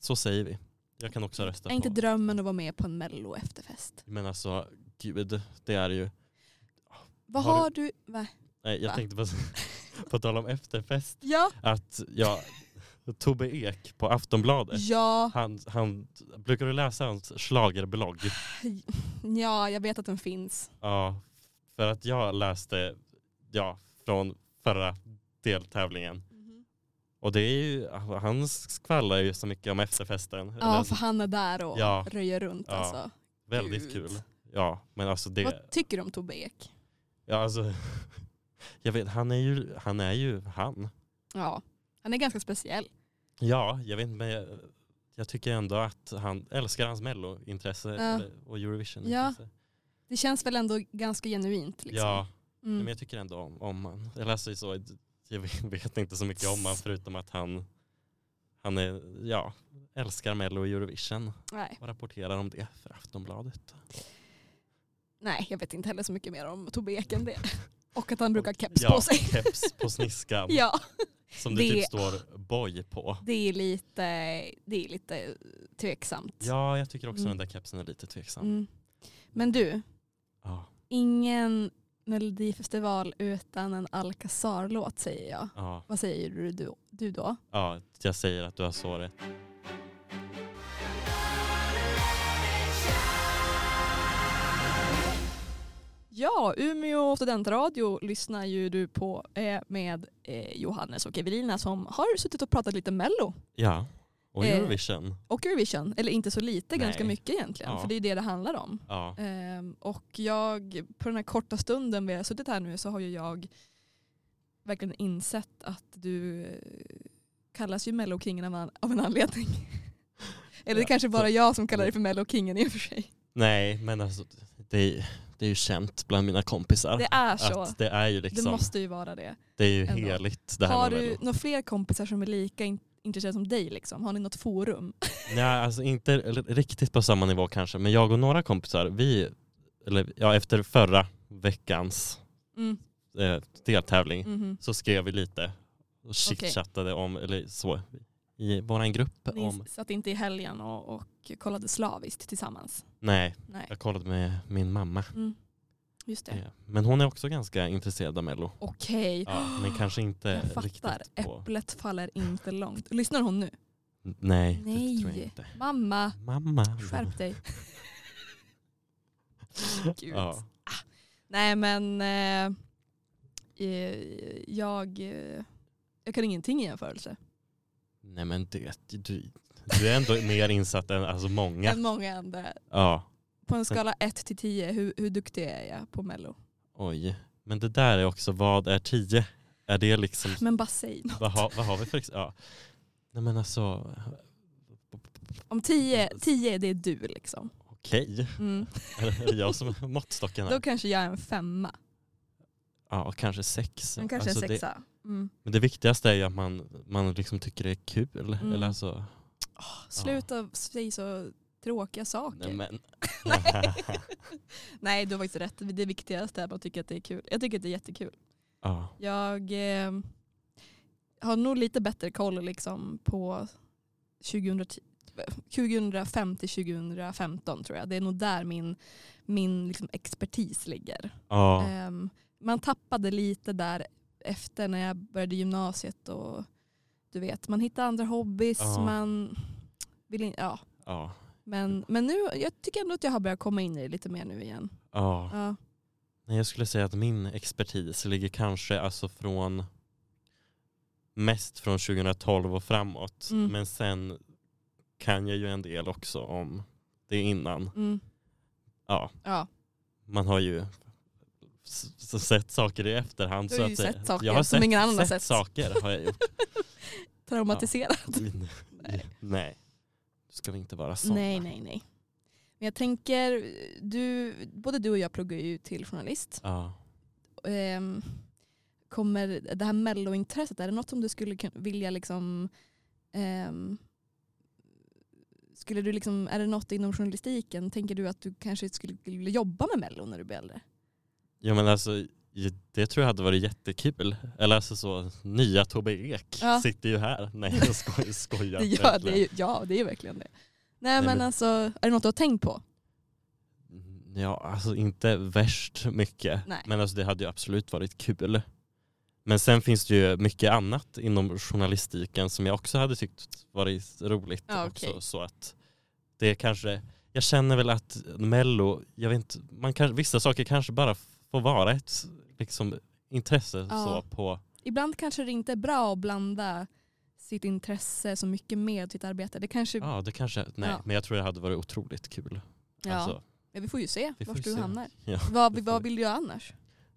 S2: Så säger vi. Jag kan också rösta
S1: Är inte
S2: på...
S1: drömmen att vara med på en mello efterfest?
S2: Men alltså, gud, det är ju...
S1: Vad
S2: Har
S1: har,
S2: du-
S1: du? Va?
S2: Nej, jag
S1: Va?
S2: tänkte på,
S1: <laughs>
S2: på tal om efterfest,
S1: Ja.
S2: att jag... Tobbe Ek på Aftonbladet,
S1: ja,
S2: han, han, brukar du läsa hans schlagerblogg?
S1: ja, jag vet att den finns.
S2: Ja, för att jag läste, ja, från förra deltävlingen. Och det är ju, han skvallrar ju så mycket om efterfesten.
S1: Ja,
S2: Eller-
S1: för han är där och
S2: Ja.
S1: röjer runt
S2: Ja.
S1: alltså.
S2: Väldigt
S1: Gud.
S2: kul. Ja, men alltså det...
S1: Vad tycker du om Tobbe Ek?
S2: Ja, alltså, <laughs> jag vet, han är ju han. Är ju han.
S1: Ja, han är ganska speciell.
S2: Ja, jag vet inte, men jag, jag tycker ändå att han älskar hans mellointresse
S1: Ja.
S2: eller- och eurovision
S1: Det känns väl ändå ganska genuint. Liksom.
S2: Ja,
S1: Mm.
S2: men jag tycker ändå om, om han. Eller alltså, så, Jag vet- vet inte så mycket om honom förutom att han, han är, ja, älskar Mello och Eurovision
S1: Nej.
S2: och rapporterar om det för Aftonbladet.
S1: Nej, jag vet inte heller så mycket mer om Tobbe Ek
S2: <laughs>
S1: än det. Och att han brukar ha keps
S2: ja,
S1: på sig.
S2: keps på sniskan
S1: <laughs> Ja,
S2: som det, typ
S1: det-
S2: står boy på.
S1: det är lite, det är lite tveksamt.
S2: Ja, jag tycker också
S1: Mm.
S2: den där kepsen är lite tveksam.
S1: Mm. Men du,
S2: Ja,
S1: ingen melodifestival utan en Alcazar-låt säger jag.
S2: ja,
S1: Vad säger du, du, du då?
S2: ja, jag säger att du har så rätt.
S1: Ja, Umeå studentradio lyssnar ju du på eh, med eh, Johannes och Evelina som har suttit och pratat lite mello
S2: Ja, och
S1: Eh,
S2: Eurovision.
S1: och Eurovision. Eller inte så lite,
S2: Nej.
S1: ganska mycket egentligen.
S2: Ja.
S1: För det är ju det det handlar om.
S2: Ja,
S1: Ehm, och jag, på den här korta stunden vi har suttit här nu så har ju jag verkligen insett att du eh, kallas ju mellokingen av, en- av en anledning. <laughs> Eller det
S2: Ja,
S1: kanske bara
S2: så-
S1: jag som kallar dig för mellokingen i och för sig.
S2: nej men alltså det, det är ju känt bland mina kompisar.
S1: Det är så.
S2: Att det är ju
S1: Det
S2: liksom, det,
S1: måste ju vara det.
S2: är ju
S1: ändå.
S2: heligt det här
S1: Har
S2: med
S1: du
S2: Mello.
S1: några fler kompisar som är lika in- intresserade som dig? Liksom? Har ni något forum?
S2: Nej, alltså inte r- riktigt på samma nivå kanske, men jag och några kompisar, vi, eller ja, efter förra veckans
S1: <laughs> Mm.
S2: eh, deltävling
S1: mhm.
S2: så skrev vi lite och chitchattade om, eller så, i våran grupp
S1: Ni
S2: om,
S1: satt inte i helgen och, och kollade slaviskt tillsammans?
S2: nej,
S1: Nej.
S2: jag kollade med min mamma.
S1: Mm. Just det.
S2: Eh, Men hon är också ganska intresserad av Mello.
S1: Okej.
S2: Ja, men kanske inte
S1: Jag fattar.
S2: riktigt på...
S1: Äpplet faller inte långt. Lyssnar hon nu?
S2: N- Nej, det tror jag
S1: Nej.
S2: inte.
S1: Mamma,
S2: Mamma.
S1: skärp
S2: <laughs>
S1: dig. Gud.
S2: Ja,
S1: Nej men eh, eh, jag, eh, jag kan ingenting i jämförelse.
S2: nej men det, du, du är ändå mer insatt än alltså många.
S1: Än många andra.
S2: Ja,
S1: På en skala 1 till 10, hur, hur duktig är jag på mello?
S2: oj. Men det där är också, vad är tio? Är det liksom,
S1: Men bara säg något.
S2: vad, har, vad har vi för, ex- ja. Nej men alltså,
S1: Om 10, 10 är det du liksom.
S2: okej.
S1: Mm.
S2: Är det jag som är måttstocken här?
S1: Då kanske jag är en femma.
S2: Ja, kanske sex.
S1: Men kanske
S2: Alltså
S1: en
S2: det-
S1: sexa. Mm.
S2: Men det viktigaste är ju att man, man liksom tycker det är kul.
S1: Mm.
S2: Eller alltså,
S1: Sluta säga så tråkiga saker.
S2: nej men.
S1: <laughs>
S2: <laughs>
S1: Nej, du har faktiskt rätt. Det viktigaste är att man tycker att det är kul. Jag tycker att det är jättekul.
S2: ja.
S1: Jag eh, har nog lite bättre koll liksom, på 2010 2005 till 2015 tror jag. Det är nog där min, min liksom, expertis ligger.
S2: ja.
S1: Ehm, man tappade lite där efter när jag började gymnasiet och du vet, man hittar andra hobbies.
S2: Ja.
S1: Man vill in, ja.
S2: ja.
S1: men, men nu, jag tycker ändå att jag har börjat komma in i det lite mer nu igen.
S2: Ja,
S1: Ja.
S2: nej, jag skulle säga att min expertis ligger kanske alltså från mest från 2012 och framåt.
S1: Mm.
S2: Men sen kan jag ju en del också om det innan.
S1: Mm.
S2: Ja,
S1: Ja.
S2: man har ju s- s- sett saker i efterhand.
S1: Du har
S2: så
S1: ju
S2: att säga.
S1: sett saker
S2: jag har
S1: som
S2: sett,
S1: ingen annan har
S2: sett.
S1: sett.
S2: saker har
S1: <laughs>
S2: jag gjort.
S1: Traumatiserad.
S2: nej. nej, ska vi inte vara sådana.
S1: Nej, nej, nej. Men jag tänker, du, både du och jag pluggar ju till journalist.
S2: Ja.
S1: Ehm, kommer det här mellointresset, är det något som du skulle kun- vilja liksom... ehm, skulle du liksom, är det något inom journalistiken, tänker du att du kanske skulle vilja jobba med mello när du blir äldre?
S2: ja, men alltså det tror jag hade varit jättekul. Eller alltså så, nya Tobbe Ek
S1: Ja.
S2: sitter ju här. Nej,
S1: <laughs>
S2: jag skojar. skojar
S1: det gör,
S2: verkligen.
S1: det är, ju- ja, det är ju verkligen det. Nej, men,
S2: men-
S1: alltså, är det något du har tänkt på?
S2: Ja, alltså inte värst mycket.
S1: Nej.
S2: Men alltså det hade ju absolut varit kul. Men sen finns det ju mycket annat inom journalistiken som jag också hade tyckt varit roligt
S1: Ja,
S2: också.
S1: okej.
S2: Så att det kanske, jag känner väl att Mello, jag vet inte, man kan, vissa saker kanske bara får vara ett liksom, intresse
S1: Ja.
S2: så på,
S1: ibland kanske det inte är bra att blanda sitt intresse så mycket med sitt arbete. Det kanske, ja.
S2: ja det kanske, nej,
S1: Typ. Ja.
S2: men jag tror det hade varit otroligt kul. Alltså,
S1: Ja, vi får ju se
S2: vi får
S1: vart
S2: ju
S1: du
S2: se.
S1: hamnar.
S2: Ja.
S1: Vad,
S2: vi får
S1: vad
S2: se.
S1: vill du göra annars?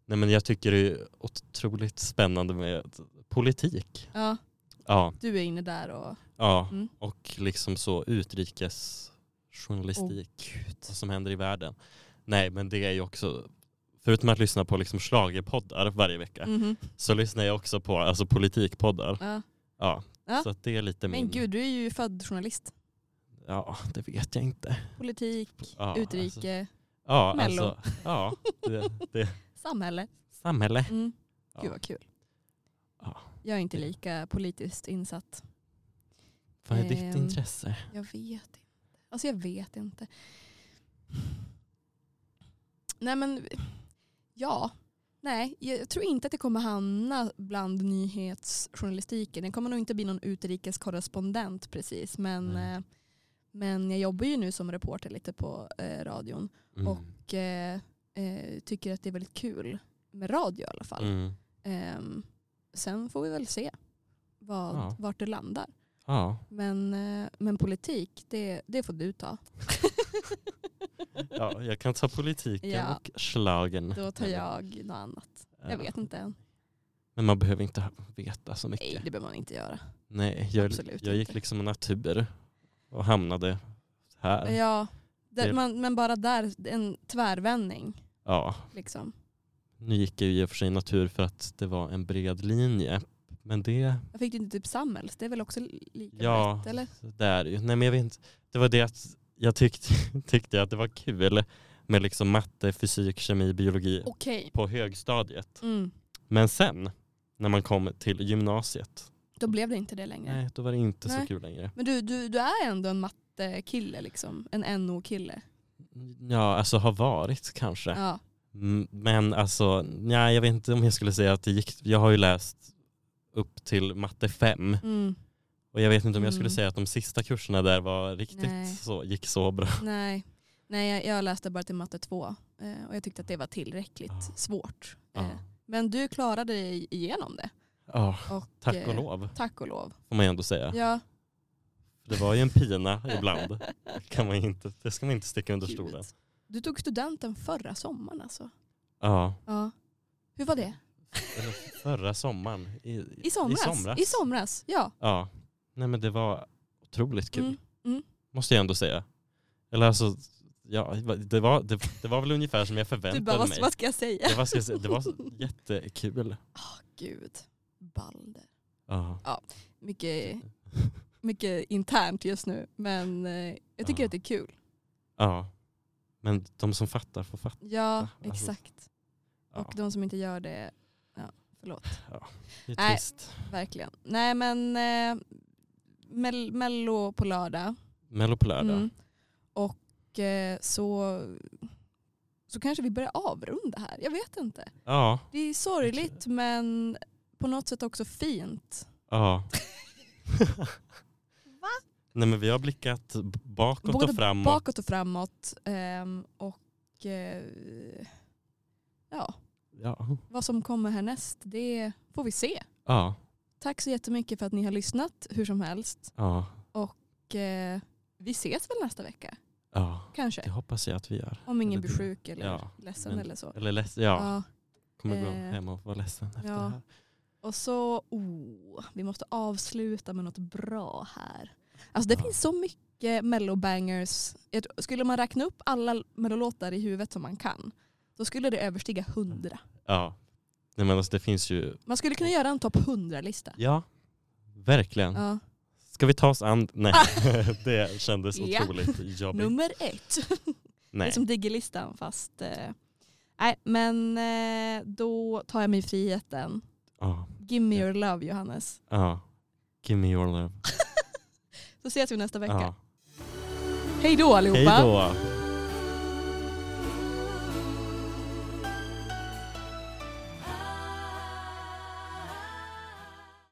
S2: Nej men jag tycker det är otroligt spännande med politik.
S1: Ja,
S2: Ja.
S1: du är inne där och...
S2: Ja,
S1: Mm.
S2: och liksom så utrikesjournalistik.
S1: Gud.
S2: Vad som händer i världen. Nej, men det är ju också förutom att lyssna på liksom schlagerpoddar varje vecka
S1: Mhm.
S2: så lyssnar jag också på alltså, politikpoddar.
S1: Ja.
S2: Ja.
S1: Ja.
S2: Så att det är lite min...
S1: Men gud, du är ju född journalist.
S2: Ja, det vet jag inte.
S1: Politik,
S2: Ja, Alltså,
S1: utrike,
S2: ja,
S1: Mello.
S2: alltså, ja, det, det,
S1: <laughs> samhälle.
S2: samhälle.
S1: Mm.
S2: Ja.
S1: Gud vad kul.
S2: Ja.
S1: Jag är inte lika politiskt insatt.
S2: Vad är ditt
S1: Ehm.
S2: intresse?
S1: Jag vet inte. Alltså jag vet inte. Nej men, ja. Nej, jag tror inte att det kommer hamna bland nyhetsjournalistiken. Det kommer nog inte bli någon utrikeskorrespondent precis. Men,
S2: Nej.
S1: eh, men jag jobbar ju nu som reporter lite på eh, radion.
S2: Mm.
S1: Och eh, eh, tycker att det är väldigt kul med radio i alla fall.
S2: Mm.
S1: Ehm, sen får vi väl se vad,
S2: Ja.
S1: vart det landar.
S2: Ja.
S1: Men, eh, men politik, det, det får du ta.
S2: ja, jag kan ta politiken
S1: Ja.
S2: och schlagern.
S1: Då tar jag något annat. Jag
S2: Ja.
S1: vet inte än.
S2: Men man behöver inte veta så mycket.
S1: Nej, det behöver man inte göra.
S2: Nej, jag,
S1: Absolut
S2: jag gick
S1: inte.
S2: liksom natur och hamnade här. Ja,
S1: Ja, det,
S2: Det-
S1: man, men bara där, en tvärvändning. Liksom.
S2: nu gick jag ju i och för sig natur för att det var en bred linje. Men det,
S1: Jag fick ju inte typ samhälls, det är väl också li- lika
S2: ja,
S1: brett eller?
S2: det är det ju. Nej men jag vet inte. Det var det att jag tyckte, <laughs> tyckte att det var kul med liksom matte, fysik, kemi, biologi
S1: Okej.
S2: på högstadiet.
S1: Mm.
S2: Men sen när man kom till gymnasiet,
S1: Då blev det inte det längre.
S2: nej då var det inte så
S1: Nej.
S2: kul längre.
S1: Men du, du, du är ändå en mattekille liksom. En NO-kille.
S2: Ja, alltså har varit kanske.
S1: Ja.
S2: Mm, Men alltså, nej, jag vet inte om jag skulle säga att det gick. Jag har ju läst upp till matte 5
S1: Mm.
S2: och jag vet inte om jag skulle
S1: Mm.
S2: säga att de sista kurserna där var riktigt
S1: Nej.
S2: så, gick
S1: <laughs>
S2: så bra.
S1: Nej, Nej jag, jag läste bara till matte 2 eh, och jag tyckte att det var tillräckligt
S2: Ja.
S1: svårt.
S2: Ja,
S1: Eh, Men du klarade dig igenom det.
S2: Ja,
S1: Och,
S2: tack och
S1: eh,
S2: lov
S1: Tack och lov.
S2: får man ju ändå säga.
S1: Ja.
S2: Det var ju en pina
S1: <laughs>
S2: ibland. Kan man ju inte, det ska man inte sticka under
S1: Gud.
S2: stolen.
S1: Du tog studenten förra sommaren alltså.
S2: Ja,
S1: Ja. Hur var det?
S2: eller förra sommaren. I,
S1: I somras?
S2: I somras.
S1: I somras, ja.
S2: Ja, nej men det var otroligt kul.
S1: Mm. Mm.
S2: Måste jag ändå säga. Eller alltså, ja, det, var, det, det var väl ungefär som jag
S1: Du
S2: förväntade
S1: bara, vad,
S2: mig.
S1: vad ska jag säga?
S2: Det var, ska jag säga, det var så jättekul.
S1: Gud, Balder.
S2: Ja.
S1: Mycket, mycket internt just nu, men eh, jag tycker
S2: Ja.
S1: att det är kul.
S2: ja. Men de som fattar får fatta.
S1: Ja,
S2: Alltså,
S1: exakt.
S2: Ja.
S1: Och de som inte gör det, ja, förlåt.
S2: Det är
S1: Nej.
S2: trist.
S1: Verkligen. Nej men eh, mel- Mello på lördag.
S2: Mello på lördag.
S1: Mm. Och eh, så, så kanske vi börjar avrunda här. Jag vet inte.
S2: Ja.
S1: Det är sorgligt men på något sätt också fint.
S2: ja.
S1: <laughs>
S2: Nej men vi har blickat b- bakåt
S1: Både
S2: och framåt.
S1: Bakåt och framåt. ehm, och eh, ja,
S2: Ja.
S1: vad som kommer härnäst det får vi se.
S2: Ja.
S1: Tack så jättemycket för att ni har lyssnat hur som helst.
S2: ja.
S1: Och, eh, vi ses väl nästa vecka
S2: Ja.
S1: kanske.
S2: Det hoppas jag att vi gör.
S1: Om ingen
S2: Eller
S1: blir
S2: det.
S1: sjuk eller
S2: Ja,
S1: ledsen
S2: men-
S1: eller så.
S2: Eller leds- ja.
S1: Ja.
S2: Kommer gå
S1: eh,
S2: hem och vara ledsen efter
S1: ja.
S2: det här.
S1: Och så, oh, vi måste avsluta med något bra här. Alltså det
S2: Ja.
S1: finns så mycket mellobangers. Jag tror- Skulle man räkna upp alla mellolåtar i huvudet som man kan, då skulle det överstiga hundra.
S2: Ja. Nej men alltså det finns ju.
S1: Man skulle kunna göra en topp hundra-lista.
S2: Ja. Verkligen.
S1: Ja. Ah.
S2: Ska vi ta oss an? Nej. <laughs> det kändes
S1: Ja.
S2: otroligt jobbigt.
S1: Nummer ett. Det är
S2: <laughs> Nej.
S1: som Diggerlistan fast... Eh, nej, men eh, då tar jag mig friheten.
S2: Ja.
S1: Give me your love Johannes.
S2: Ja. Give me your love.
S1: Så ses vi nästa vecka.
S2: Ja.
S1: Hej då allihopa.
S2: Hej då.